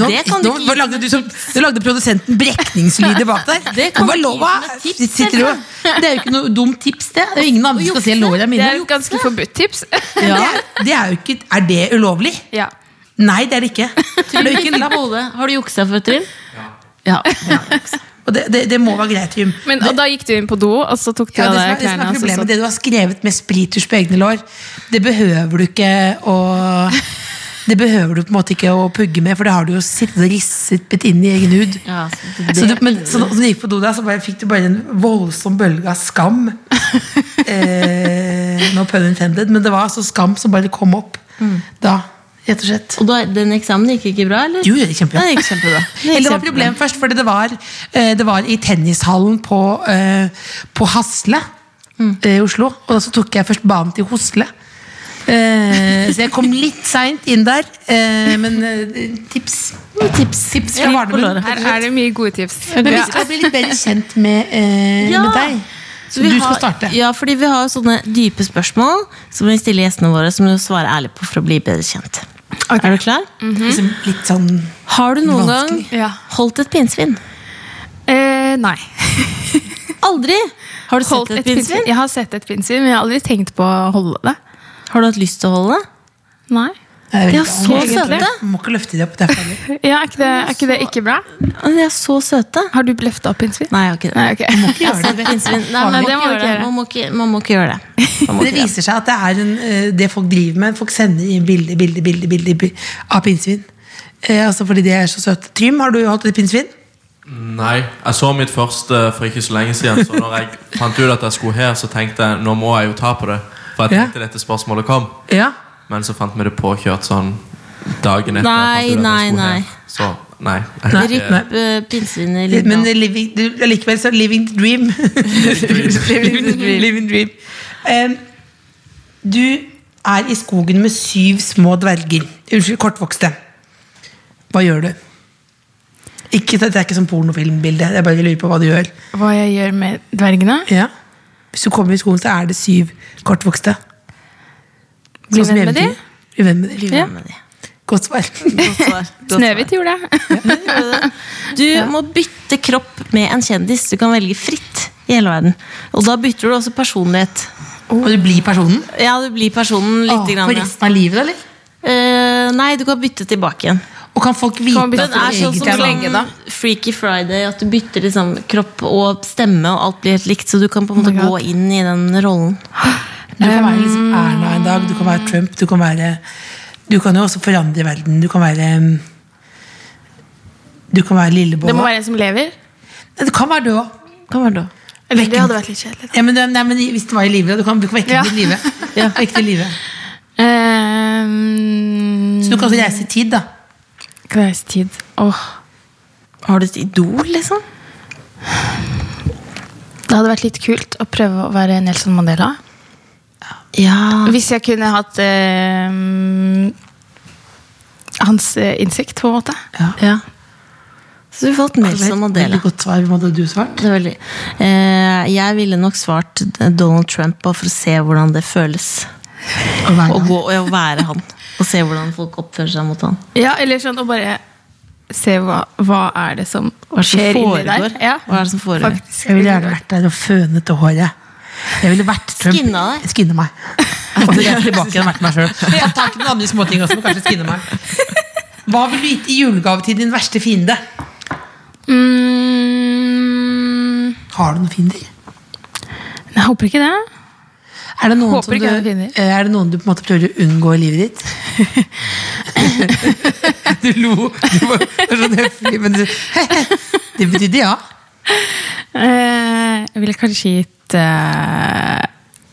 nå,
Det kan du
nå,
ikke gi
hva lagde du, som, du lagde produsenten brekningslyder bak der.
Det kan
Hva
du ikke gi
lova?
som et tips,
Sitter du og- det er jo ikke noe dumt tips, det. Det er jo ingen andre som skal se
jukse,
låra
Det
mine.
er et ganske forbudt tips.
Ja, det er, jo ikke, er det ulovlig?
ja.
Nei, det er det ikke. Det er jo ikke en lapp.
Bolle, Har du juksa før, Trym? Ja. ja.
Og det, det, det må være greit, Trym.
Men, og da gikk du inn på do, og så tok du
Ja,
av
det, som
deg
er, det, som er
klærne. og altså, så-
problemet, det du har skrevet med sprittusj på egne lår, det behøver du ikke å Det behøver du på en måte ikke å pugge med, for det har du jo sittet og risset bitt inn i egen hud.
Ja, så
sånn.
det-
Så du, men, så, når du gikk på do der, så bare, fikk du bare en voldsom bølge av skam. altså. eh, no pun intended, men det var altså skam som bare kom opp da, rett og slett.
Og da, den eksamen gikk ikke bra, eller?
Jo, det gikk kjempebra.
Den gikk kjempebra.
Eller det var problem først, fordi det var, eh, det var i tennishallen på, eh, på Hasle
Mm.
eh, i Oslo. Og så tok jeg først banen til Hosle. Eh, så jeg kom litt seint inn der, eh, men eh, tips. Tips, tips fra
Ja, på
Barnemunn.
låret.
Her er det mye gode tips.
Men vi skal bli litt bedre kjent med, eh,
Ja.
med deg. Så
vi
du skal
har-
starte.
Ja, fordi vi har jo sånne dype spørsmål som vi stiller gjestene våre, som du svarer ærlig på for å bli bedre kjent. Er du klar?
Liksom litt sånn
Har du noen
Vanskelig.
gang
Ja.
holdt et pinnsvin?
Eh, nei.
Aldri! Har du
Holdt
sett et pinnsvin?
Jeg har sett et pinnsvin, men jeg har aldri tenkt på å holde det.
Har du hatt lyst til å holde det?
Nei.
jeg vet
De
ikke,
er så
egentlig.
søte.
Må ikke løfte de opp derfra. heller.
Ja, er, ikke det, er ikke det ikke bra?
Å, De er så søte.
Har du løfta opp pinnsvin?
Nei, jeg har ikke det.
Nei, ok.
Gjør det, vet du.
Pinnsvin. Nei, man, må
Nei,
ikke
det må du
gjøre
ikke
det.
gjøre.
man må ikke Man må ikke gjøre det. Man må
Det
ikke gjøre det.
viser seg at det er en, eh, det folk driver med. Folk sender inn bilder, bilder, bilder, bilder bi- av pinnsvin. Eh, altså fordi de er så søte. Trym, har du holdt et pinnsvin?
Nei, jeg så mitt første for ikke så lenge siden. Så når jeg fant ut at jeg skulle her, så tenkte jeg nå må jeg jo ta på det. For jeg
Ja.
tenkte dette spørsmålet kom.
Ja.
Men så fant vi det påkjørt sånn dagen etter.
Nei,
jeg fant ut at jeg
nei,
skulle
nei.
her. Så nei.
Nei.
Jeg-
Nei.
Ripp eh, pinnsvin i livet.
Men living, du, likevel så living the dream. living the dream. Living the dream. Eh, du er i skogen med syv små dverger. Unnskyld, kortvokste. Hva gjør du? Ikke, det er ikke sånn pornofilmbilde. Jeg bare lurer på hva du gjør.
Hva jeg gjør med dvergene?
Ja. Hvis du kommer i skogen, så er det syv kortvokste.
Bli
Sånn som
venn med de.
eventyr. Bli venn med de.
Bli venn med de.
Godt svar.
Godt svar. Godt svar.
Snehvit gjorde det.
Du må bytte kropp med en kjendis. Du kan velge fritt i hele verden. Og da bytter du også personlighet.
Og du blir personen?
Ja, du blir personen litt.
Åh,
grann,
For
ja.
resten av livet, eller?
Eh, nei, du kan bytte tilbake igjen.
Og kan folk vite
Kan man bytte-
at du
Den er sånn
egentlig
som
er
sånn
lenge, da?
Freaky Friday, at du bytter liksom kropp og stemme, og alt blir helt likt. Så du kan på en måte
my God.
gå inn i den rollen.
Du kan være liksom Erna en dag, du kan være Trump, du kan være Du kan jo også forandre verden. Du kan være um, Du kan være
Det må
Lillebolla.
være en som lever.
Nei, Du kan være du òg.
Kan være det.
Eller, det hadde vært litt kjedelig.
Ja, men, nei, men hvis det var i livet, du kan, du kan vekke
Ja.
det i livet. Vekke det i livet.
Um,
Ehm,
Så du kan også reise i tid, da.
Kveistid. Åh.
Har du et idol, liksom?
Det hadde vært litt kult å prøve å være Nelson Mandela.
Ja.
Hvis jeg kunne hatt ehm, hans eh, innsikt, på en måte.
ja. Så vi falt Nelson Mandela.
Veldig godt svar. Hva hadde du svart?
Det er veldig- Eh, jeg ville nok svart Donald Trump bare for å se hvordan det føles.
Å være
Å
han.
gå og å være han. Og se hvordan folk oppfører seg mot han.
Ja, eller sånn å bare se hva, hva er det som
Hva er det som
skjer inni der.
foregår? Hva er det som foregår?
Faktisk.
Jeg ville gjerne vært der og fønet til håret. Jeg ville vært Trump.
Skinna deg?
Skinne meg. Og jeg er tilbake og vært meg selv. Tatt tak i noen andre småting også, men kanskje skinne meg. Hva vil du gitt i julegave til din verste fiende?
Mm,
Har du noen fiender?
jeg håper ikke det.
Er det noen,
Håper
som
ikke
du,
jeg har noen fiender.
eh, er det noen du på en måte prøver å unngå i livet ditt? du lo. Du var det var sånn høflig, men du, det betydde ja.
Eh, jeg ville kanskje gitt eh,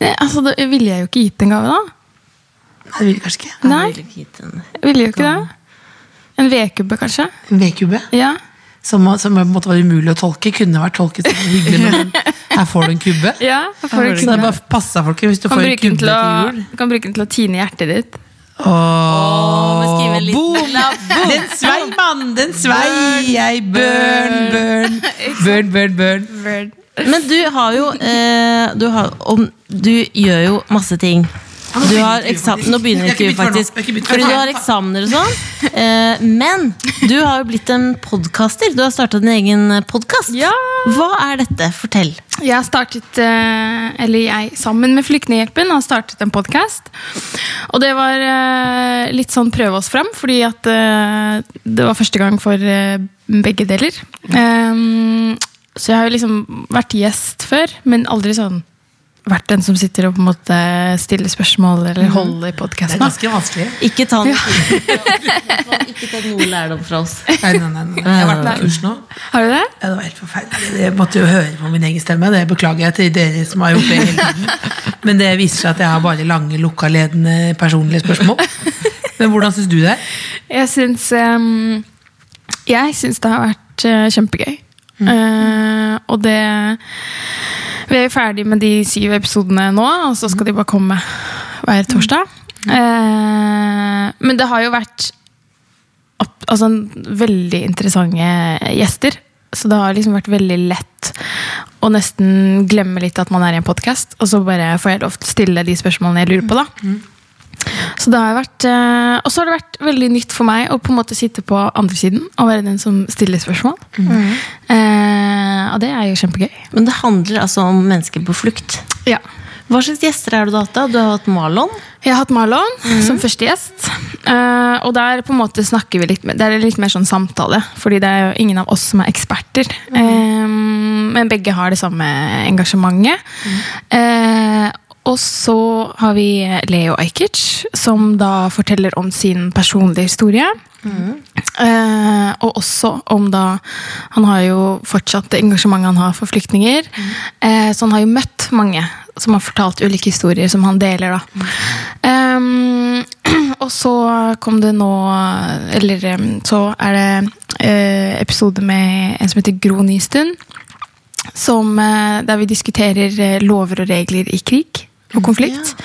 nei, Altså, da ville jeg jo ikke gitt en gave, da.
Nei, det ville kanskje ikke.
Nei, jeg ville jo ikke det. En vedkubbe, kanskje?
En vedkubbe
Ja.
som, som på en måte var umulig å tolke, kunne vært tolket som en hyggelig. Men her får du en kubbe.
ja jeg får
Så det er bare passa folk hvis du
kan
får en
bruke, den
kubbe
til
til
å,
jul.
kan bruke den til å tine hjertet ditt.
Åh,
men skriv en liten
boom! Den svei, mann! Den svei! Jeg burn, burn, burn, burn, burn.
Men du har jo eh, du, har, om, du gjør jo masse ting.
nå
Du
begynner
har
intervjuet, faktisk.
eksamen, nå begynner
Jeg har ikke
intervjuet,
begynt før nå.
faktisk.
Jeg har ikke begynt før
Fordi
nå.
du har eksamener og sånn. Eh, men du har jo blitt en podkaster. Du har starta din egen podkast.
Ja.
Hva er dette? Fortell.
Jeg har startet, eh, eller jeg sammen med Flyktninghjelpen har startet en podkast. Og det var eh, litt sånn prøve oss fram, fordi at eh, det var første gang for eh, begge deler. Ehm, Så jeg har jo liksom vært gjest før, men aldri sånn vært den som sitter og på en måte stiller spørsmål eller holder
Mhm. Det er
podkasten.
ganske vanskelig.
Ikke ta noe, ikke ta noe lærdom fra oss.
Nei, nei, nei, nei. Jeg har vært på kurs nå.
Har du det?
Ja, det var helt forferdelig. Jeg måtte jo høre på min egen stemme. Det beklager jeg til dere som har gjort det hele tiden. Men det viser seg at jeg har bare lange, lukkaledende personlige spørsmål. Men hvordan syns du det? er?
Jeg syns ehm, Jeg syns det har vært eh, kjempegøy. Eh, og det Vi er jo ferdig med de syv episodene nå, og så skal de bare komme hver torsdag. Eh, men det har jo vært opp, altså, veldig interessante gjester. Så det har liksom vært veldig lett å nesten glemme litt at man er i en podkast, og så bare får jeg lov til å stille de spørsmålene jeg lurer på. da. Så det har vært, eh, Og så har det vært veldig nytt for meg å på en måte sitte på andre siden og være den som stiller spørsmål. Eh, og det er jo kjempegøy.
Men det handler altså om mennesker på flukt.
Ja.
Hva slags gjester har du hatt? da? Du har hatt Marlon.
Jeg har hatt Marlon som første gjest. eh, og der på en måte snakker vi litt mer, det er litt mer sånn samtale, fordi det er jo ingen av oss som er eksperter. Eh, men begge har det samme engasjementet. Eh, og så har vi Leo Ajkic, som da forteller om sin personlige historie. Eh, og også om da Han har jo fortsatt det engasjementet han har for flyktninger. Eh, så han har jo møtt mange som har fortalt ulike historier som han deler. da. Ehm, og så kom det nå Eller em, så er det eh, episode med en som heter Gro Nystuen. Som, eh, der vi diskuterer eh, lover og regler i krig og konflikt.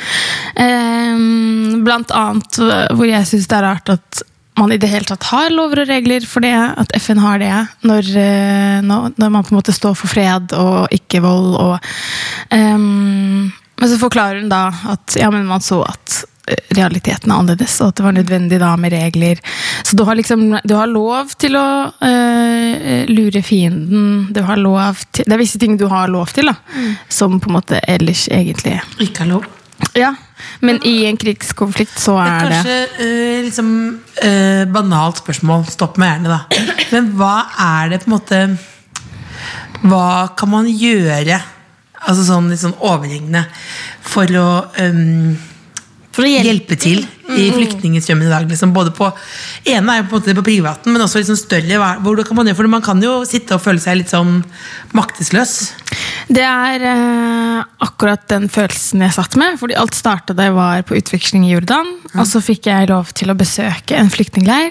Ehm, blant annet eh, hvor jeg syns det er rart at man i det hele tatt har lover og regler for det, at FN har det, når, eh, nå- når man på en måte står for fred og ikke vold og ehm, Men så forklarer hun da at ja, men man så at eh, realiteten er annerledes, og at det var nødvendig da med regler. Så du har liksom du har lov til å eh, lure fienden. Du har lov til, det er visse ting du har lov til, da, som på en måmåte ellers egentlig
Ikke har lov.
Ja, men i en krigskonflikt så
Men
er det
kanskje eh, liksom, eh, banalt spørsmål. Stopp meg gjerne, da. Men hva er det på en måte Hva kan man gjøre, altså sånn litt sånn overliggende, for å eh,
For å hjelpe.
hjelpe til i flyktningstrømmen i dag. Liksom. Både på, ene er jo på en måte det på privaten, men også litt sånn større. hva- Hvor det kan man, gjøre, for man kan jo sitte og føle seg litt sånn maktesløs.
Det er eh, akkurat den følelsen jeg satt med. Fordi alt starta da jeg var på utveksling i Jordan. Og så fikk jeg lov til å besøke en flyktningleir.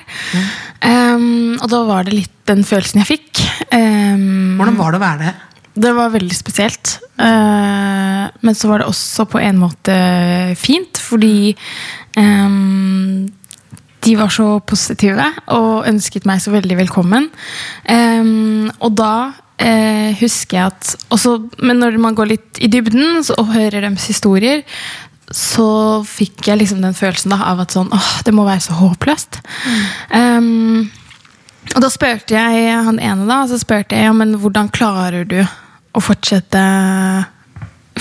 Em, og da var det litt den følelsen jeg fikk. Ehm, Em,
Hvordan var det å være det?
Det var veldig spesielt. Eh, men så var det også på en måte fint, fordi eh, De var så positive og ønsket meg så veldig velkommen. Ehm, og da eh, husker jeg at også, Men når man går litt i dybden så, og hører deres historier, så fikk jeg liksom den følelsen da, av at sånn, åh, det må være så håpløst. Ehm, og da spurte jeg han ene, da, så spurte jeg ja, men hvordan klarer du å fortsette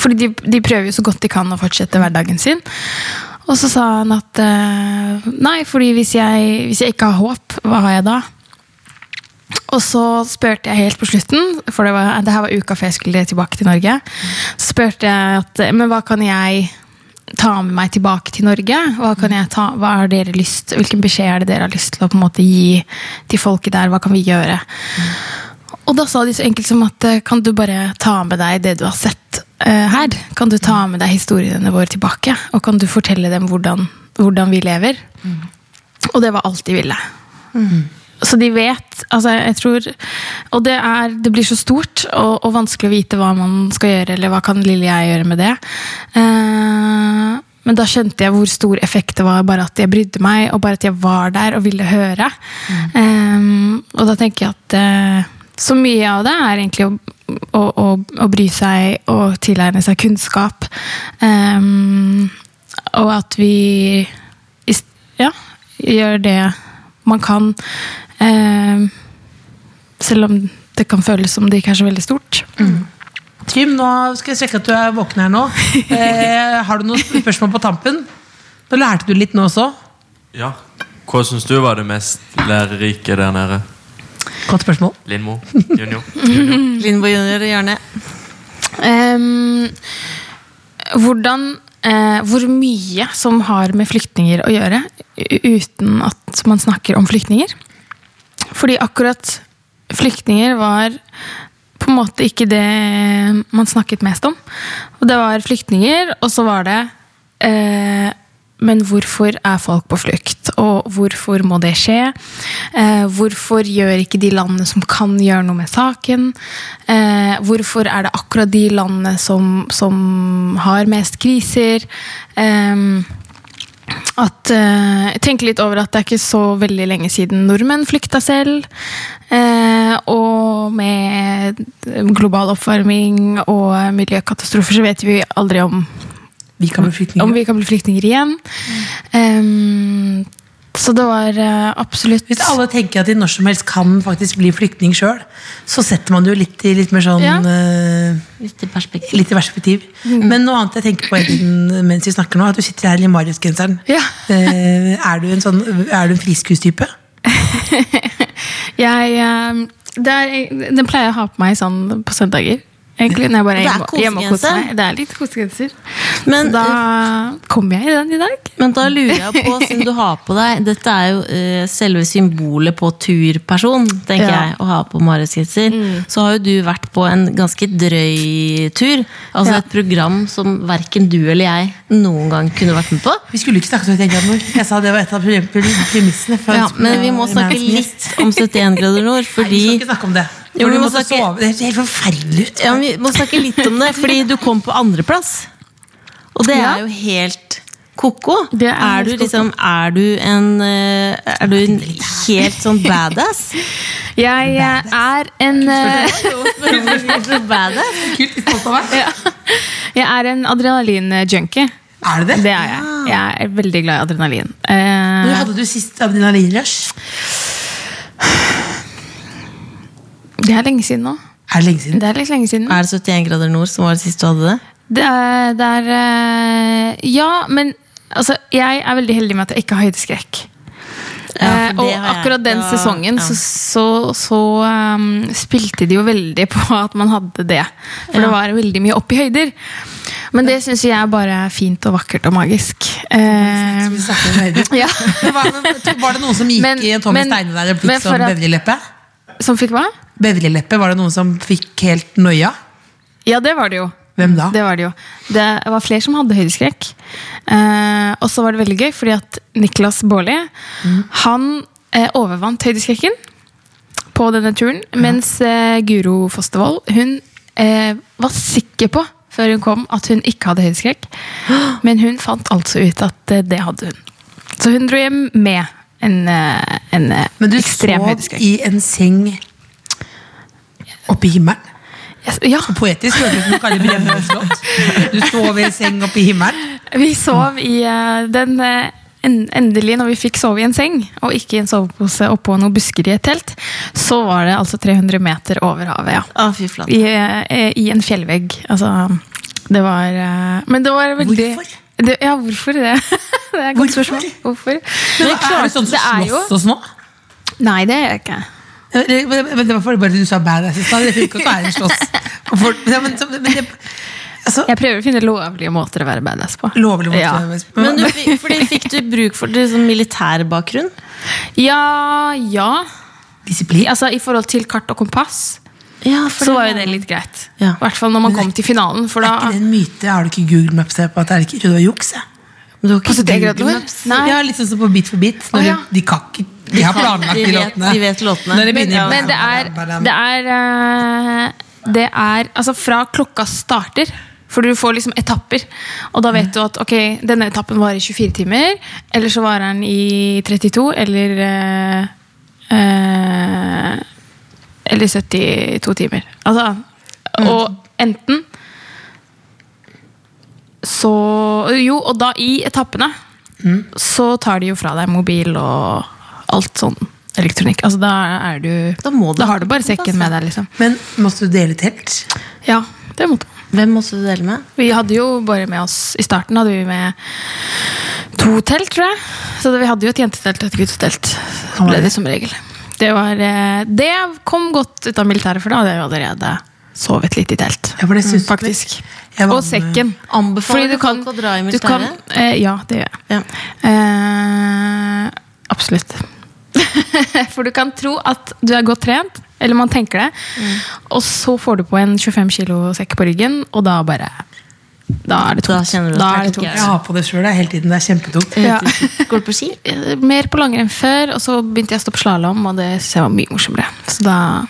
Fordi de, de prøver jo så godt de kan å fortsette hverdagen sin. Og så sa han at eh, nei, fordi hvis jeg, hvis jeg ikke har håp, hva har jeg da? Og så spurte jeg helt på slutten, for det, var, det her var uka før jeg skulle tilbake til Norge. Så spurte jeg at men hva kan jeg ta med meg tilbake til Norge? Hva kan jeg ta, hva har dere lyst, hvilken beskjed er det dere har lyst til å på en måte gi til folket der? Hva kan vi gjøre? Og da sa de så enkelt som at eh, kan du bare ta med deg det du har sett eh, her? Kan du ta med deg historiene våre tilbake? Og kan du fortelle dem hvordan, hvordan vi lever? Og det var alt de ville. Så de vet altså jeg tror, Og det, er, det blir så stort og, og vanskelig å vite hva man skal gjøre, eller hva kan lille jeg gjøre med det. Eh, men da skjønte jeg hvor stor effekt det var bare at jeg brydde meg, og bare at jeg var der og ville høre. Eh, og da tenker jeg at eh, så mye av det er egentlig å, å, å, å bry seg og tilegne seg kunnskap. Eh, og at vi i st- ja, gjør det man kan. Eh, selv om det kan føles som det ikke er så veldig stort.
Trym, nå skal jeg sjekke at du er våken her nå. Eh, har du noen spørsmål på tampen? Nå lærte du litt nå også.
Ja. Hva syns du var det mest lærerike der nede?
Godt spørsmål.
Lindmo? Junior?
Mm.
junior.
Lindbo junior og Jarne.
Ehm, hvordan eh, Hvor mye som har med flyktninger å gjøre u- uten at man snakker om flyktninger. Fordi akkurat flyktninger var på en måte ikke det man snakket mest om. Og det var flyktninger, og så var det eh, Men hvorfor er folk på flukt? Og hvorfor må det skje? Eh, hvorfor gjør ikke de landene som kan gjøre noe med saken? Eh, hvorfor er det akkurat de landene som, som har mest kriser? Eh, at eh, Jeg tenker litt over at det er ikke så veldig lenge siden nordmenn flykta selv. Eh, og med eh, global oppvarming og miljøkatastrofer så vet vi aldri om,
Vi kan bli flyktninger.
om vi kan bli flyktninger igjen. Eh, så det var eh, absolutt
Hvis alle tenker at de når som helst kan faktisk bli flyktning sjøl, så setter man det jo litt i litt mer sånn
Ja.
eh,
Litt i perspektiv.
Litt i perspektiv.
Mm.
Men noe annet jeg tenker på hele tiden mens vi snakker nå, er at du sitter her i Marius-genseren.
Ja.
Eh, er du en sånn Er du en friskustype?
Jeg, eh, det er, den pleier jeg å ha på meg sånn på søndager. Egentlig, når jeg bare er
Det er
hjemme, hjemme og koser
kosegenser.
meg. Det er litt kosegenser.
Men-
så da kommer jeg i den i dag.
Men da lurer jeg på, siden du har på deg Dette er jo eh, selve symbolet på turperson, tenker
Ja. Mm.
jeg, å ha på Mariusgrenser. Så har jo du vært på en ganske drøy tur. Altså
Ja.
et program som verken du eller jeg noen gang kunne vært med på.
Vi skulle ikke snakke så høyt, Egil Amor. Jeg sa det var et av pre- pre- premissene. for-
Ja, men vi må
for-
snakke
Man's Guest.
litt om 71 grader
Nei,
nord,
Vi skal
fordi
ikke snakke om det.
Jo,
For
vi
du
må
måtte
snakke-
sove. Det ser helt forferdelig ut.
Ja, men vi må snakke litt om det, fordi du kom på andreplass. Og det
Ja.
er jo helt ko-ko.
Det er
Er,
helt
du
ko-ko.
liksom Er du en eh, Er du en helt sånn badass?
Jeg eh, er en eh,
badass?
Kult, litt stolt av meg.
Jeg er en adrenalin-junkie.
Er det det?
Det er jeg.
Ah.
Jeg er veldig glad i adrenalin. Eh,
Når hadde du sist adrenalinrush?
det er lenge siden nå.
Er det lenge siden?
Det er litt lenge siden.
Er det 71 grader nord som var det siste du hadde det?
Det er, det er eh, Ja, men altså, jeg er veldig heldig med at jeg ikke har høydeskrekk.
Ja,
Eh,
for det
og
har jeg.
akkurat den
Ja,
sesongen
ja.
så, så, så ehm, spilte de jo veldig på at man hadde det. For det var veldig mye opp i høyder. Men det syns jeg er bare fint og vakkert og magisk. Eh,
Vi snakker om høyder.
ja.
Men Var var det noen som gikk
Men-
i en Tommy
men-
Steine der og
men
fikk
for
sånn
at-
bevreleppe?
Som fikk hva?
Bevreleppe, var det noen som fikk helt noia?
Ja, det var det jo.
Hvem da?
Det var det jo. Det var flere som hadde høydeskrekk. Eh, og så var det veldig gøy, fordi at Niklas Baarli
Mm.
han eh, overvant høydeskrekken på denne turen, mens eh, Guro Fostervoll hun eh, var sikker på før hun kom at hun ikke hadde høydeskrekk. Men hun fant altså ut at eh, det hadde hun. Så hun dro hjem med en, eh, en eh,
Men du
ekstrem
sov
høydeskrekk.
i en seng oppe i himmelen.
Ja,
Poetisk høres det ut som Kari Bremnes låt. Du sov i en seng oppe i himmelen.
vi sov i eh, den eh, en- Endelig, når vi fikk sove i en seng, og ikke i en sovepose oppå noen busker i et telt, så var det altså 300 meter over havet, ja.
Å, fy flate.
I, eh, I en fjellvegg. Altså, det var eh, Men det var veldig
Hvorfor?
Det, ja, hvorfor det? det er et godt
Hvorfor?
spørsmål. Hvorfor?
Men er det sånn som
Det er jo-
slåss oss nå?
Nei, det gjør jeg ikke.
Men Det men det var fordi bare du sa badass i stad. Det funker ikke å være en slåss. Og folk- men- men- men det- altså,
Jeg prøver å finne lovlige måter å være badass på.
Lovlig måte.
Ja.
Men du, fikk- fordi Fikk du bruk for det som militær bakgrunn?
Ja, ja.
Disiplin.
Altså, I forhold til kart og kompass
Ja,
så var jo det litt greit. I
Ja.
hvert fall når man kom til finalen. For
Er ikke det
da
en myte? Har du ikke Google Maps her på at det er ikke tror det var juks? jeg?
Du har ikke
Altså, det er greit.
Google
Google
Maps.
Maps?
Nei.
Nei.
Ja, litt sånn som på Bit for bit. Når
Å, ja.
de, de kan ikke De har
kan-
planlagt
de
de
vet-
låtene.
de vet låtene.
Når de
Men,
begynner
men det er, det er eh, Det er Altså, fra klokka starter for du får liksom etapper, og da vet du at ok, denne etappen varer 24 timer. Eller så varer den i 32, eller eh, eh, Eller 72 timer. Altså
Mm.
Og enten så Jo, og da i etappene
Mm.
så tar de jo fra deg mobil og alt sånn elektronikk. Altså da er du
Da må du
har du bare
ha kompass,
sekken med
da.
deg, liksom.
Men måtte du dele telt?
Ja, det måtte man.
Hvem måtte du dele med?
Vi hadde jo bare med oss I starten hadde vi med to telt, tror jeg. Så det, vi hadde jo et jentetelt og et guttetelt. Så ble det som regel. Det, var, eh, det kom godt ut av militæret, for da hadde jeg jo allerede sovet litt i telt. Mm,
Ja, for det syns du
Faktisk.
Jeg var
Og
med-
sekken.
Anbefaler
Fordi
du folk å dra i
du kan- eh, ja, det gjør jeg.
Ja.
Eh, absolutt. For du kan tro at du er godt trent, eller man tenker det,
Mm.
og så får du på en 25 kilo sekk på ryggen, og da bare Da er det
Da
tungt.
kjenner du at
Da er
det er
det
tungt.
tungt.
Jeg har på det sjøl hele tiden. Det er kjempetungt.
Ja.
Går du på ski?
Eh, Mer på langrenn før, og så begynte jeg å stå på slalåm, og det synes jeg var mye morsommere. Så da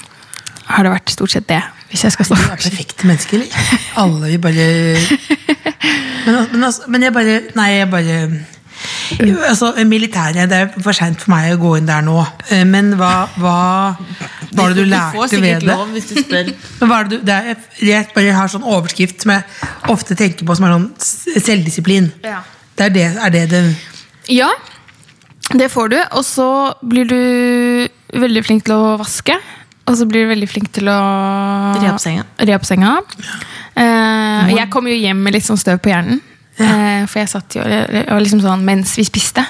har det vært stort sett det, hvis jeg skal stå
Vi
på
er
ski.
perfekte mennesker, eller? Alle vi bare Men, al- men, altså, men jeg bare Nei, jeg bare Jo, altså, Militæret, det er for seint for meg å gå inn der nå. Eh, Men hva, hva var det du lærte ved det?
hvis du spør.
Men hva er det du, det er, jeg bare har sånn overskrift som jeg ofte tenker på som er sånn s- selvdisiplin.
Ja.
Det er det, er det det
Ja, det får du. Og så blir du veldig flink til å vaske. Og så blir du veldig flink til å
Re opp senga.
Re opp senga. Eh, jeg kom jo hjem med litt sånn støv på hjernen. Eh, for jeg satt jo jeg var liksom sånn mens vi spiste.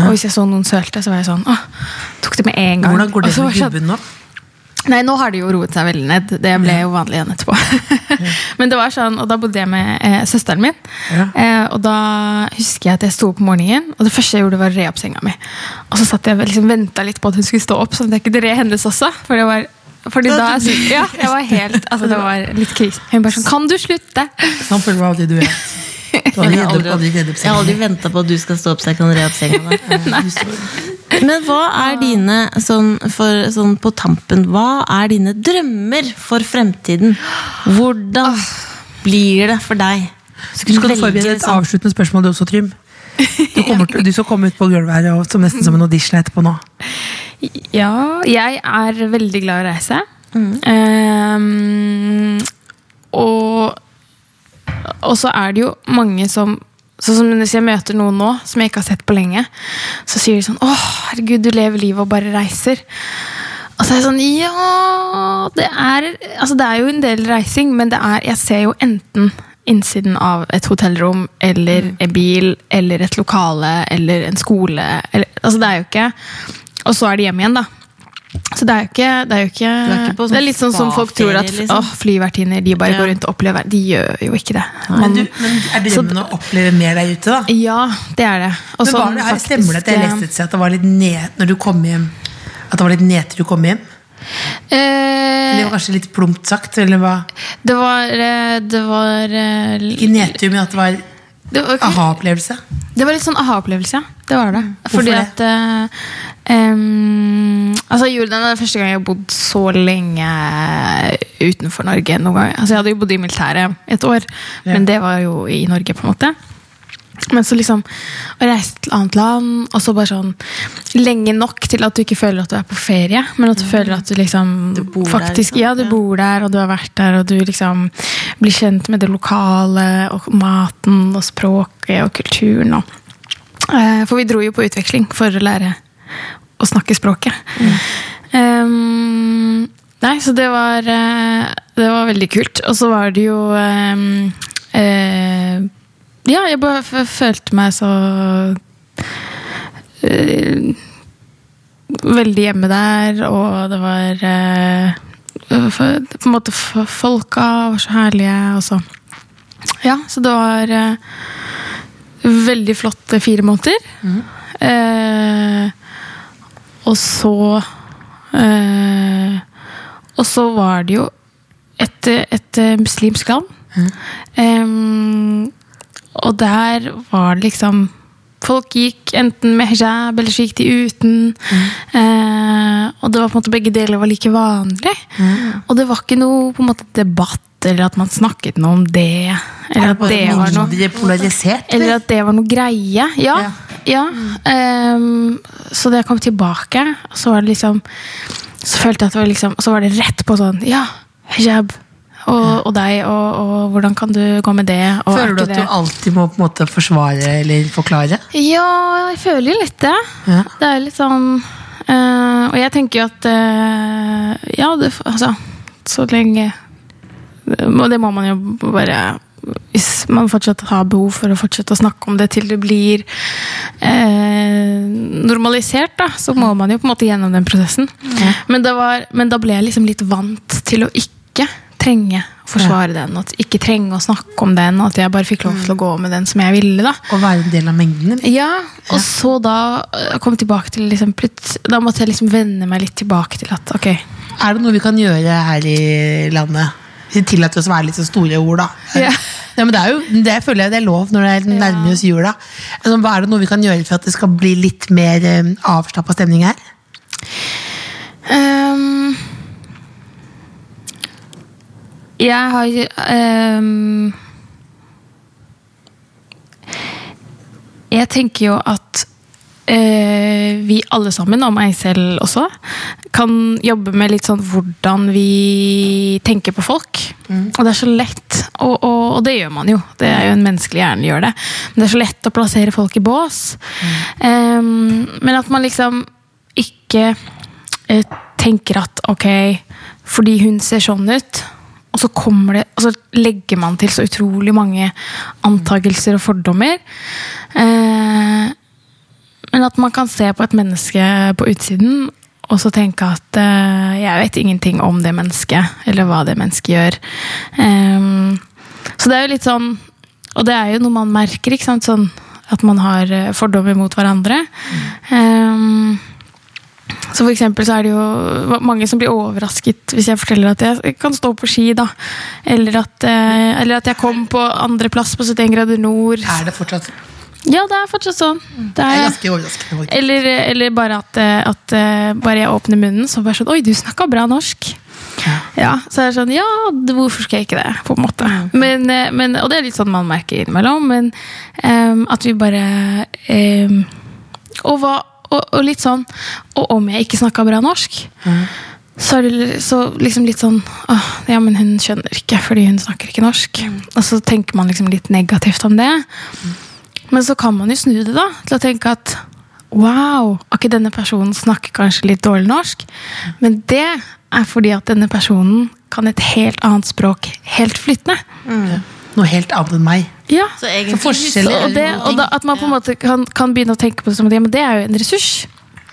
Og hvis jeg så noen sølte, så var jeg sånn åh, Tok det med en gang.
Hvordan går
Og
det
Altså,
så
med
var jeg sånn,
gubben nå?
Nei, nå har det jo roet seg veldig ned. Det ble jo vanlig igjen etterpå. Men det var sånn, og da bodde jeg med eh, søsteren min.
Ja.
Eh, og da husker jeg at jeg sto opp om morgenen, og det første jeg gjorde, var å re opp senga mi. Og så satt jeg og liksom, venta litt på at hun skulle stå opp, sånn at jeg kunne re hennes også. For det var fordi da, ja, jeg var helt, altså Det var litt krise. Hun bare sånn Kan du slutte?
Sånn føler meg alltid du er. Du har aldri
Jeg
redd
har
opp- aldri
aldri,
redd opp
jeg har aldri
sengen.
venta på at du skal stå opp så jeg kan re opp senga. da.
Du står-
Men hva er dine, sånn, for, sånn på tampen, hva er dine drømmer for fremtiden? Hvordan blir det for deg? sånn-
Du skal forberede et avsluttende spørsmål, du også, Trym. Du, kommer, til- du skal komme ut på gulvet her og, som nesten som en audition etterpå nå.
Ja, jeg er veldig glad i å reise. Ehm, og, og så er det jo mange som Sånn som Hvis jeg møter noen nå som jeg ikke har sett på lenge, så sier de sånn Å, herregud, du lever livet og bare reiser. Og så er jeg sånn Ja, det er Altså, det er jo en del reising, men det er Jeg ser jo enten innsiden av et hotellrom eller
Mm.
en bil eller et lokale eller en skole eller, Altså, det er jo ikke Og så er det hjem igjen, da. Så det er jo ikke Det er, jo ikke,
Du er ikke på sånn
det er litt sånn som folk tror at
spa-ferie, liksom.
«Åh, flyvertinner de bare
Ja.
går rundt og opplever. De gjør jo ikke det.
Men,
Man-
du, men er drømmen å oppleve mer der ute, da?
ja, det er det. Og
Men var
sånn
det her,
faktisk,
stemmer det at jeg
eh,
leste et sted at det var litt ned når du kom hjem? At det var litt nedtur du kom hjem? Det
Eh,
var kanskje litt plumpt sagt? Eller hva?
det var eh, Det var eh,
Ikke nedtur, men at det var
det var, ikke-
aha-opplevelse?
det var litt sånn aha-opplevelse. Det var
Mm.
det. Fordi
det?
at eh, em, Altså Jordan er det første gang jeg har bodd så lenge utenfor Norge. noen gang. Altså Jeg hadde jo bodd i militæret et år, men det var jo i Norge. på en måte Men så liksom å reise til et annet land, og så bare sånn lenge nok til at du ikke føler at du er på ferie, men at du føler at du liksom
Mm. Du bor der,
faktisk,
liksom.
Ja, du
Ja.
bor der, og du har vært der, og du liksom blir kjent med det lokale, og maten, og språket, og kulturen, og Eh, For vi dro jo på utveksling for å lære å snakke språket. Ehm, nei, så det var, eh, det var veldig kult. Og så var det jo ehm, eh, Ja, jeg bare f- følte meg så eh, Veldig hjemme der, og det var eh, for- På en måte f- folka var så herlige, og så Ja, så det var eh, veldig flotte fire måneder. Eh, og så eh, Og så var det jo et, et eh, muslimsk land. Em, og der var det liksom Folk gikk enten med hijab, eller så gikk de uten. Eh, og det var på en måte begge deler var like vanlig. Og det var ikke noe på en måte debatt, eller at man snakket noe om det. Eller at det var noe
mindre polarisert?
eller at det var noe greie. Ja.
Ja.
ja. Ehm, så da jeg kom tilbake, så var det liksom Så følte jeg at det var liksom Så var det rett på sånn Ja, hijab. Og, og deg, og, og hvordan kan du gå med det? Og er
Føler du
ikke
at du
det-
alltid må på en måte forsvare eller forklare?
ja, jeg føler jo litt det.
Ja.
Det er jo litt sånn eh, Og jeg tenker jo at eh, Ja, det, f- altså Så lenge Og det må man jo bare Hvis man fortsatt har behov for å fortsette å snakke om det til det blir eh, normalisert, da, så må man jo på en måte gjennom den prosessen. Men, det var, men da ble jeg liksom litt vant til å ikke trenge å forsvare den, at ikke trenge å snakke om den, at jeg bare fikk lov til å gå med den som jeg ville. da.
Å være en del av mengden? eller?
Ja, og så da eh, kom jeg tilbake til liksom, plut- Da måtte jeg liksom vende meg litt tilbake til at ok
Er det noe vi kan gjøre her i landet? Vi tillater oss å være litt så store ord, da.
Ja.
Ja, men det, er jo, det føler jeg det er lov når det er nærmer oss jula. Altså, hva er det noe vi kan gjøre for at det skal bli litt mer um, avslappa stemning her?
ehm, Jeg har ehm, Jeg tenker jo at eh, vi alle sammen, og meg selv også, kan jobbe med litt sånn hvordan vi tenker på folk. Og det er så lett, og, og, og det gjør man jo. Det er jo en menneskelig hjerne gjør det. Men det er så lett å plassere folk i bås. Eh, men at man liksom ikke eh, tenker at ok, fordi hun ser sånn ut og så, kommer det, og så legger man til så utrolig mange antakelser og fordommer. Eh, men at man kan se på et menneske på utsiden og så tenke at eh, jeg vet ingenting om det mennesket, eller hva det mennesket gjør. Eh, så det er jo litt sånn Og det er jo noe man merker, ikke sant? Sånn, at man har eh, fordommer mot hverandre. Eh, så for eksempel så er det jo mange som blir overrasket hvis jeg forteller at jeg kan stå på ski, da. Eller at, eh, eller at jeg kom på andreplass på 71 grader nord.
Er det fortsatt
Ja, det er fortsatt sånn. Det
det er
er,
ganske overraskende? faktisk.
eller, eller bare at, eh, at eh, bare jeg åpner munnen, så bare sånn Oi, du snakka bra norsk. Ja, så er det sånn, ja, d- hvorfor skal jeg ikke det, på en måte. Men, eh, men, og det er litt sånn man merker innimellom, men ehm, at vi bare ehm, og, hva, og, og litt sånn Og om jeg ikke snakka bra norsk, så er det li- så liksom litt sånn åh, Ja, men hun skjønner ikke, fordi hun snakker ikke norsk. Og så tenker man liksom litt negativt om det. Men så kan man jo snu det da, til å tenke at wow, ok, denne personen snakker kanskje litt dårlig norsk, men det er fordi at denne personen kan et helt annet språk helt flytende.
Noe helt annet enn meg.
Ja,
Så egentlig
Så forskjell-
husker-
og, det, og da, at man på en måte kan, kan begynne å tenke på det som at ja, men det er jo en ressurs.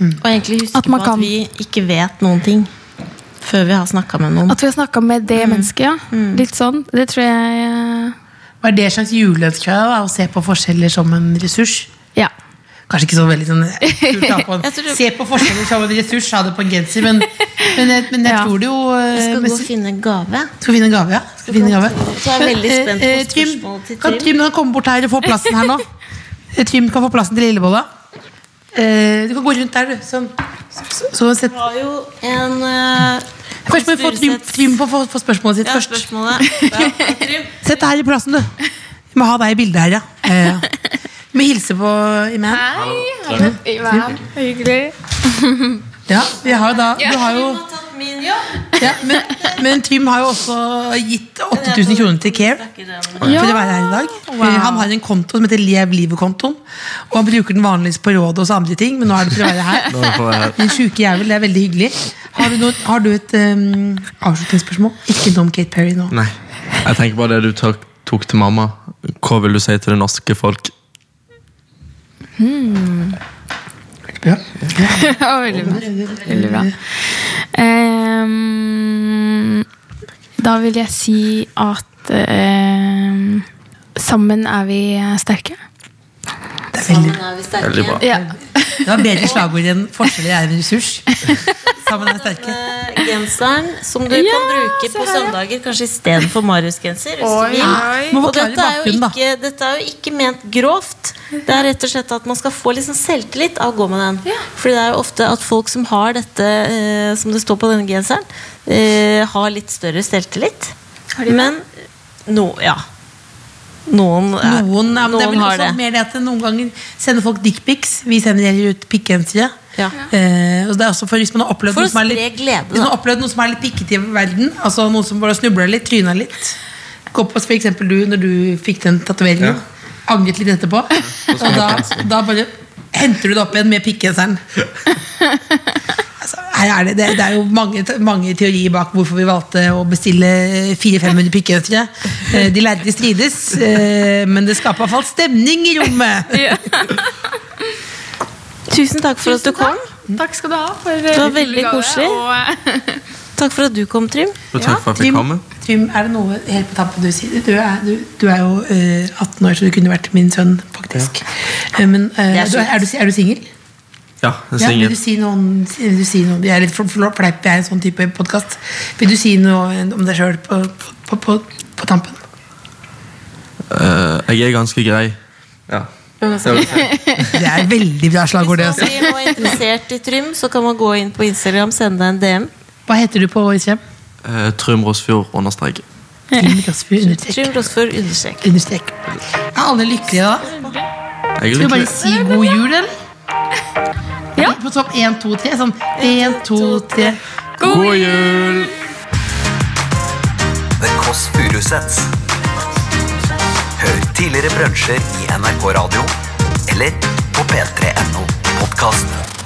Og egentlig huske
At man
på
kan-
at vi ikke vet noen ting før vi har snakka med noen.
At vi har snakka med det mennesket, ja. Litt sånn. Det tror jeg eh,
Hva er det slags juleønske jeg har, da? Å se på forskjeller som en ressurs?
Ja.
Kanskje ikke så veldig sånn kult å ha på en-
Jeg tror du-
Se på forskjeller som en ressurs, sa det på en genser, men, men, jeg, men jeg
Ja.
tror det jo eh,
Jeg skal
men-
gå og finne en gave.
Skal vi finne en gave, ja? Skal vi finne en gave?
Så er jeg veldig
Men,
spent på
eh, eh, Trym,
spørsmålet til
Kan
Trym.
Trym kan komme bort her og få plassen her nå? Eh, Trym kan få plassen til Lillebolla. Eh, du kan gå rundt der, du. Sånn. Så, så, så sett.
har jo en eh,
Først må vi få Trym,
Furuseths-
Trym på å få- få spørsmålet sitt
Ja,
først.
spørsmålet. Ja, Trym.
Sett deg her i plassen, du. Vi må ha deg i bildet her, ja. Eh, ja. vi hilse på Iman?
Hei! Hallo. Ivan. Hyggelig.
Ja, vi har jo da Du har jo
Ja.
ja, men, men Trym har jo også gitt 8000 kroner til Care. For å være her i dag Eh, Han har en konto som heter Lev livet-kontoen. Og han bruker den vanligvis på råd og så andre ting, men nå er det for å være her.
Nå er det for å være her.
Din sjuke jævel, det er veldig hyggelig. Har du, noe, har du et em, avslutningsspørsmål? Ikke noe om Kate Perry nå.
Nei. Jeg tenker bare det du tok, tok til mamma. Hva vil du si til det norske folk?
Ja, veldig bra. Veldig bra. Ehm, da vil jeg si at ehm, sammen er vi sterke.
Det, er veldig,
Veldig bra.
det var bedre slagord enn 'forskjeller er en ressurs'. Sammen er vi sterke.
Eh, Genseren som du kan bruke på søndager, kanskje istedenfor Marius-genser. hvis du vil.
Må
Og
forklare
dette er, jo
bakgrunnen, da.
ikke, dette er jo ikke ment grovt. Det er rett og slett at man skal få liksom selvtillit av å gå med den. Fordi det er jo ofte at folk som har dette eh, som det står på denne genseren, eh, har litt større selvtillit. Men no, ja. noen, er,
Noen, ja, men det er
noen
vel
har
også
det.
mer det at noen ganger sender folk dickpics. Vi sender heller ut pikkgensere.
Ja.
Eh, og det er også for hvis man har opplevd
For
noe
å
som er
spre
litt,
glede,
hvis man har
da.
opplevd noe som er litt pikkete i verden. Altså Noen som bare snubla litt, tryna litt. Gå på for eksempel du når du fikk den tatoveringen. Angret litt etterpå. Og da, da bare henter du det opp igjen med pikkgenseren. Altså, her er det, det, det er jo mange, mange teorier bak hvorfor vi valgte å bestille 400-500 pikkgensere. Eh, De lærde strides, eh, men det skaper i hvert fall stemning i rommet.
Tusen takk for at du kom.
Takk skal du ha for
Det var veldig koselig. Takk for at du kom, Trym.
Og Takk for at jeg fikk komme.
Trym, er det noe helt på tampen du sier? Du er, du, du er jo eh, 18 år, så du kunne vært min sønn, faktisk. Eh, Men eh,
Det er
du, er du, er du singel?
Ja,
Ja,
jeg
vil
synger.
du si noe om vil du si noe, Jeg er litt fl- fl- fleip, jeg er en sånn type podkast. Vil du si noe om deg sjøl på, på, på, på tampen?
Eh, jeg er ganske grei. Ja. Det vil jeg si.
Det er veldig bra slagord, det.
Hvis
Også.
man blir noe interessert i Trym, så kan man gå inn på Instagram, sende deg en DM.
Hva heter du på Instagram?
Eh, Trym Rosfjord understrek.
Trym Rosfjord understrek.
Trym Rosfjord understrek.
understrek. Er alle lykkelige da?
Jeg er
Skal vi bare
lykkelig.
si god jul, eller? Ja. På topp én, to, tre. Sånn én, to, tre.
God jul!
The Kåss Furuseths. Hør tidligere brunsjer i NRK Radio eller på p3.no podkast.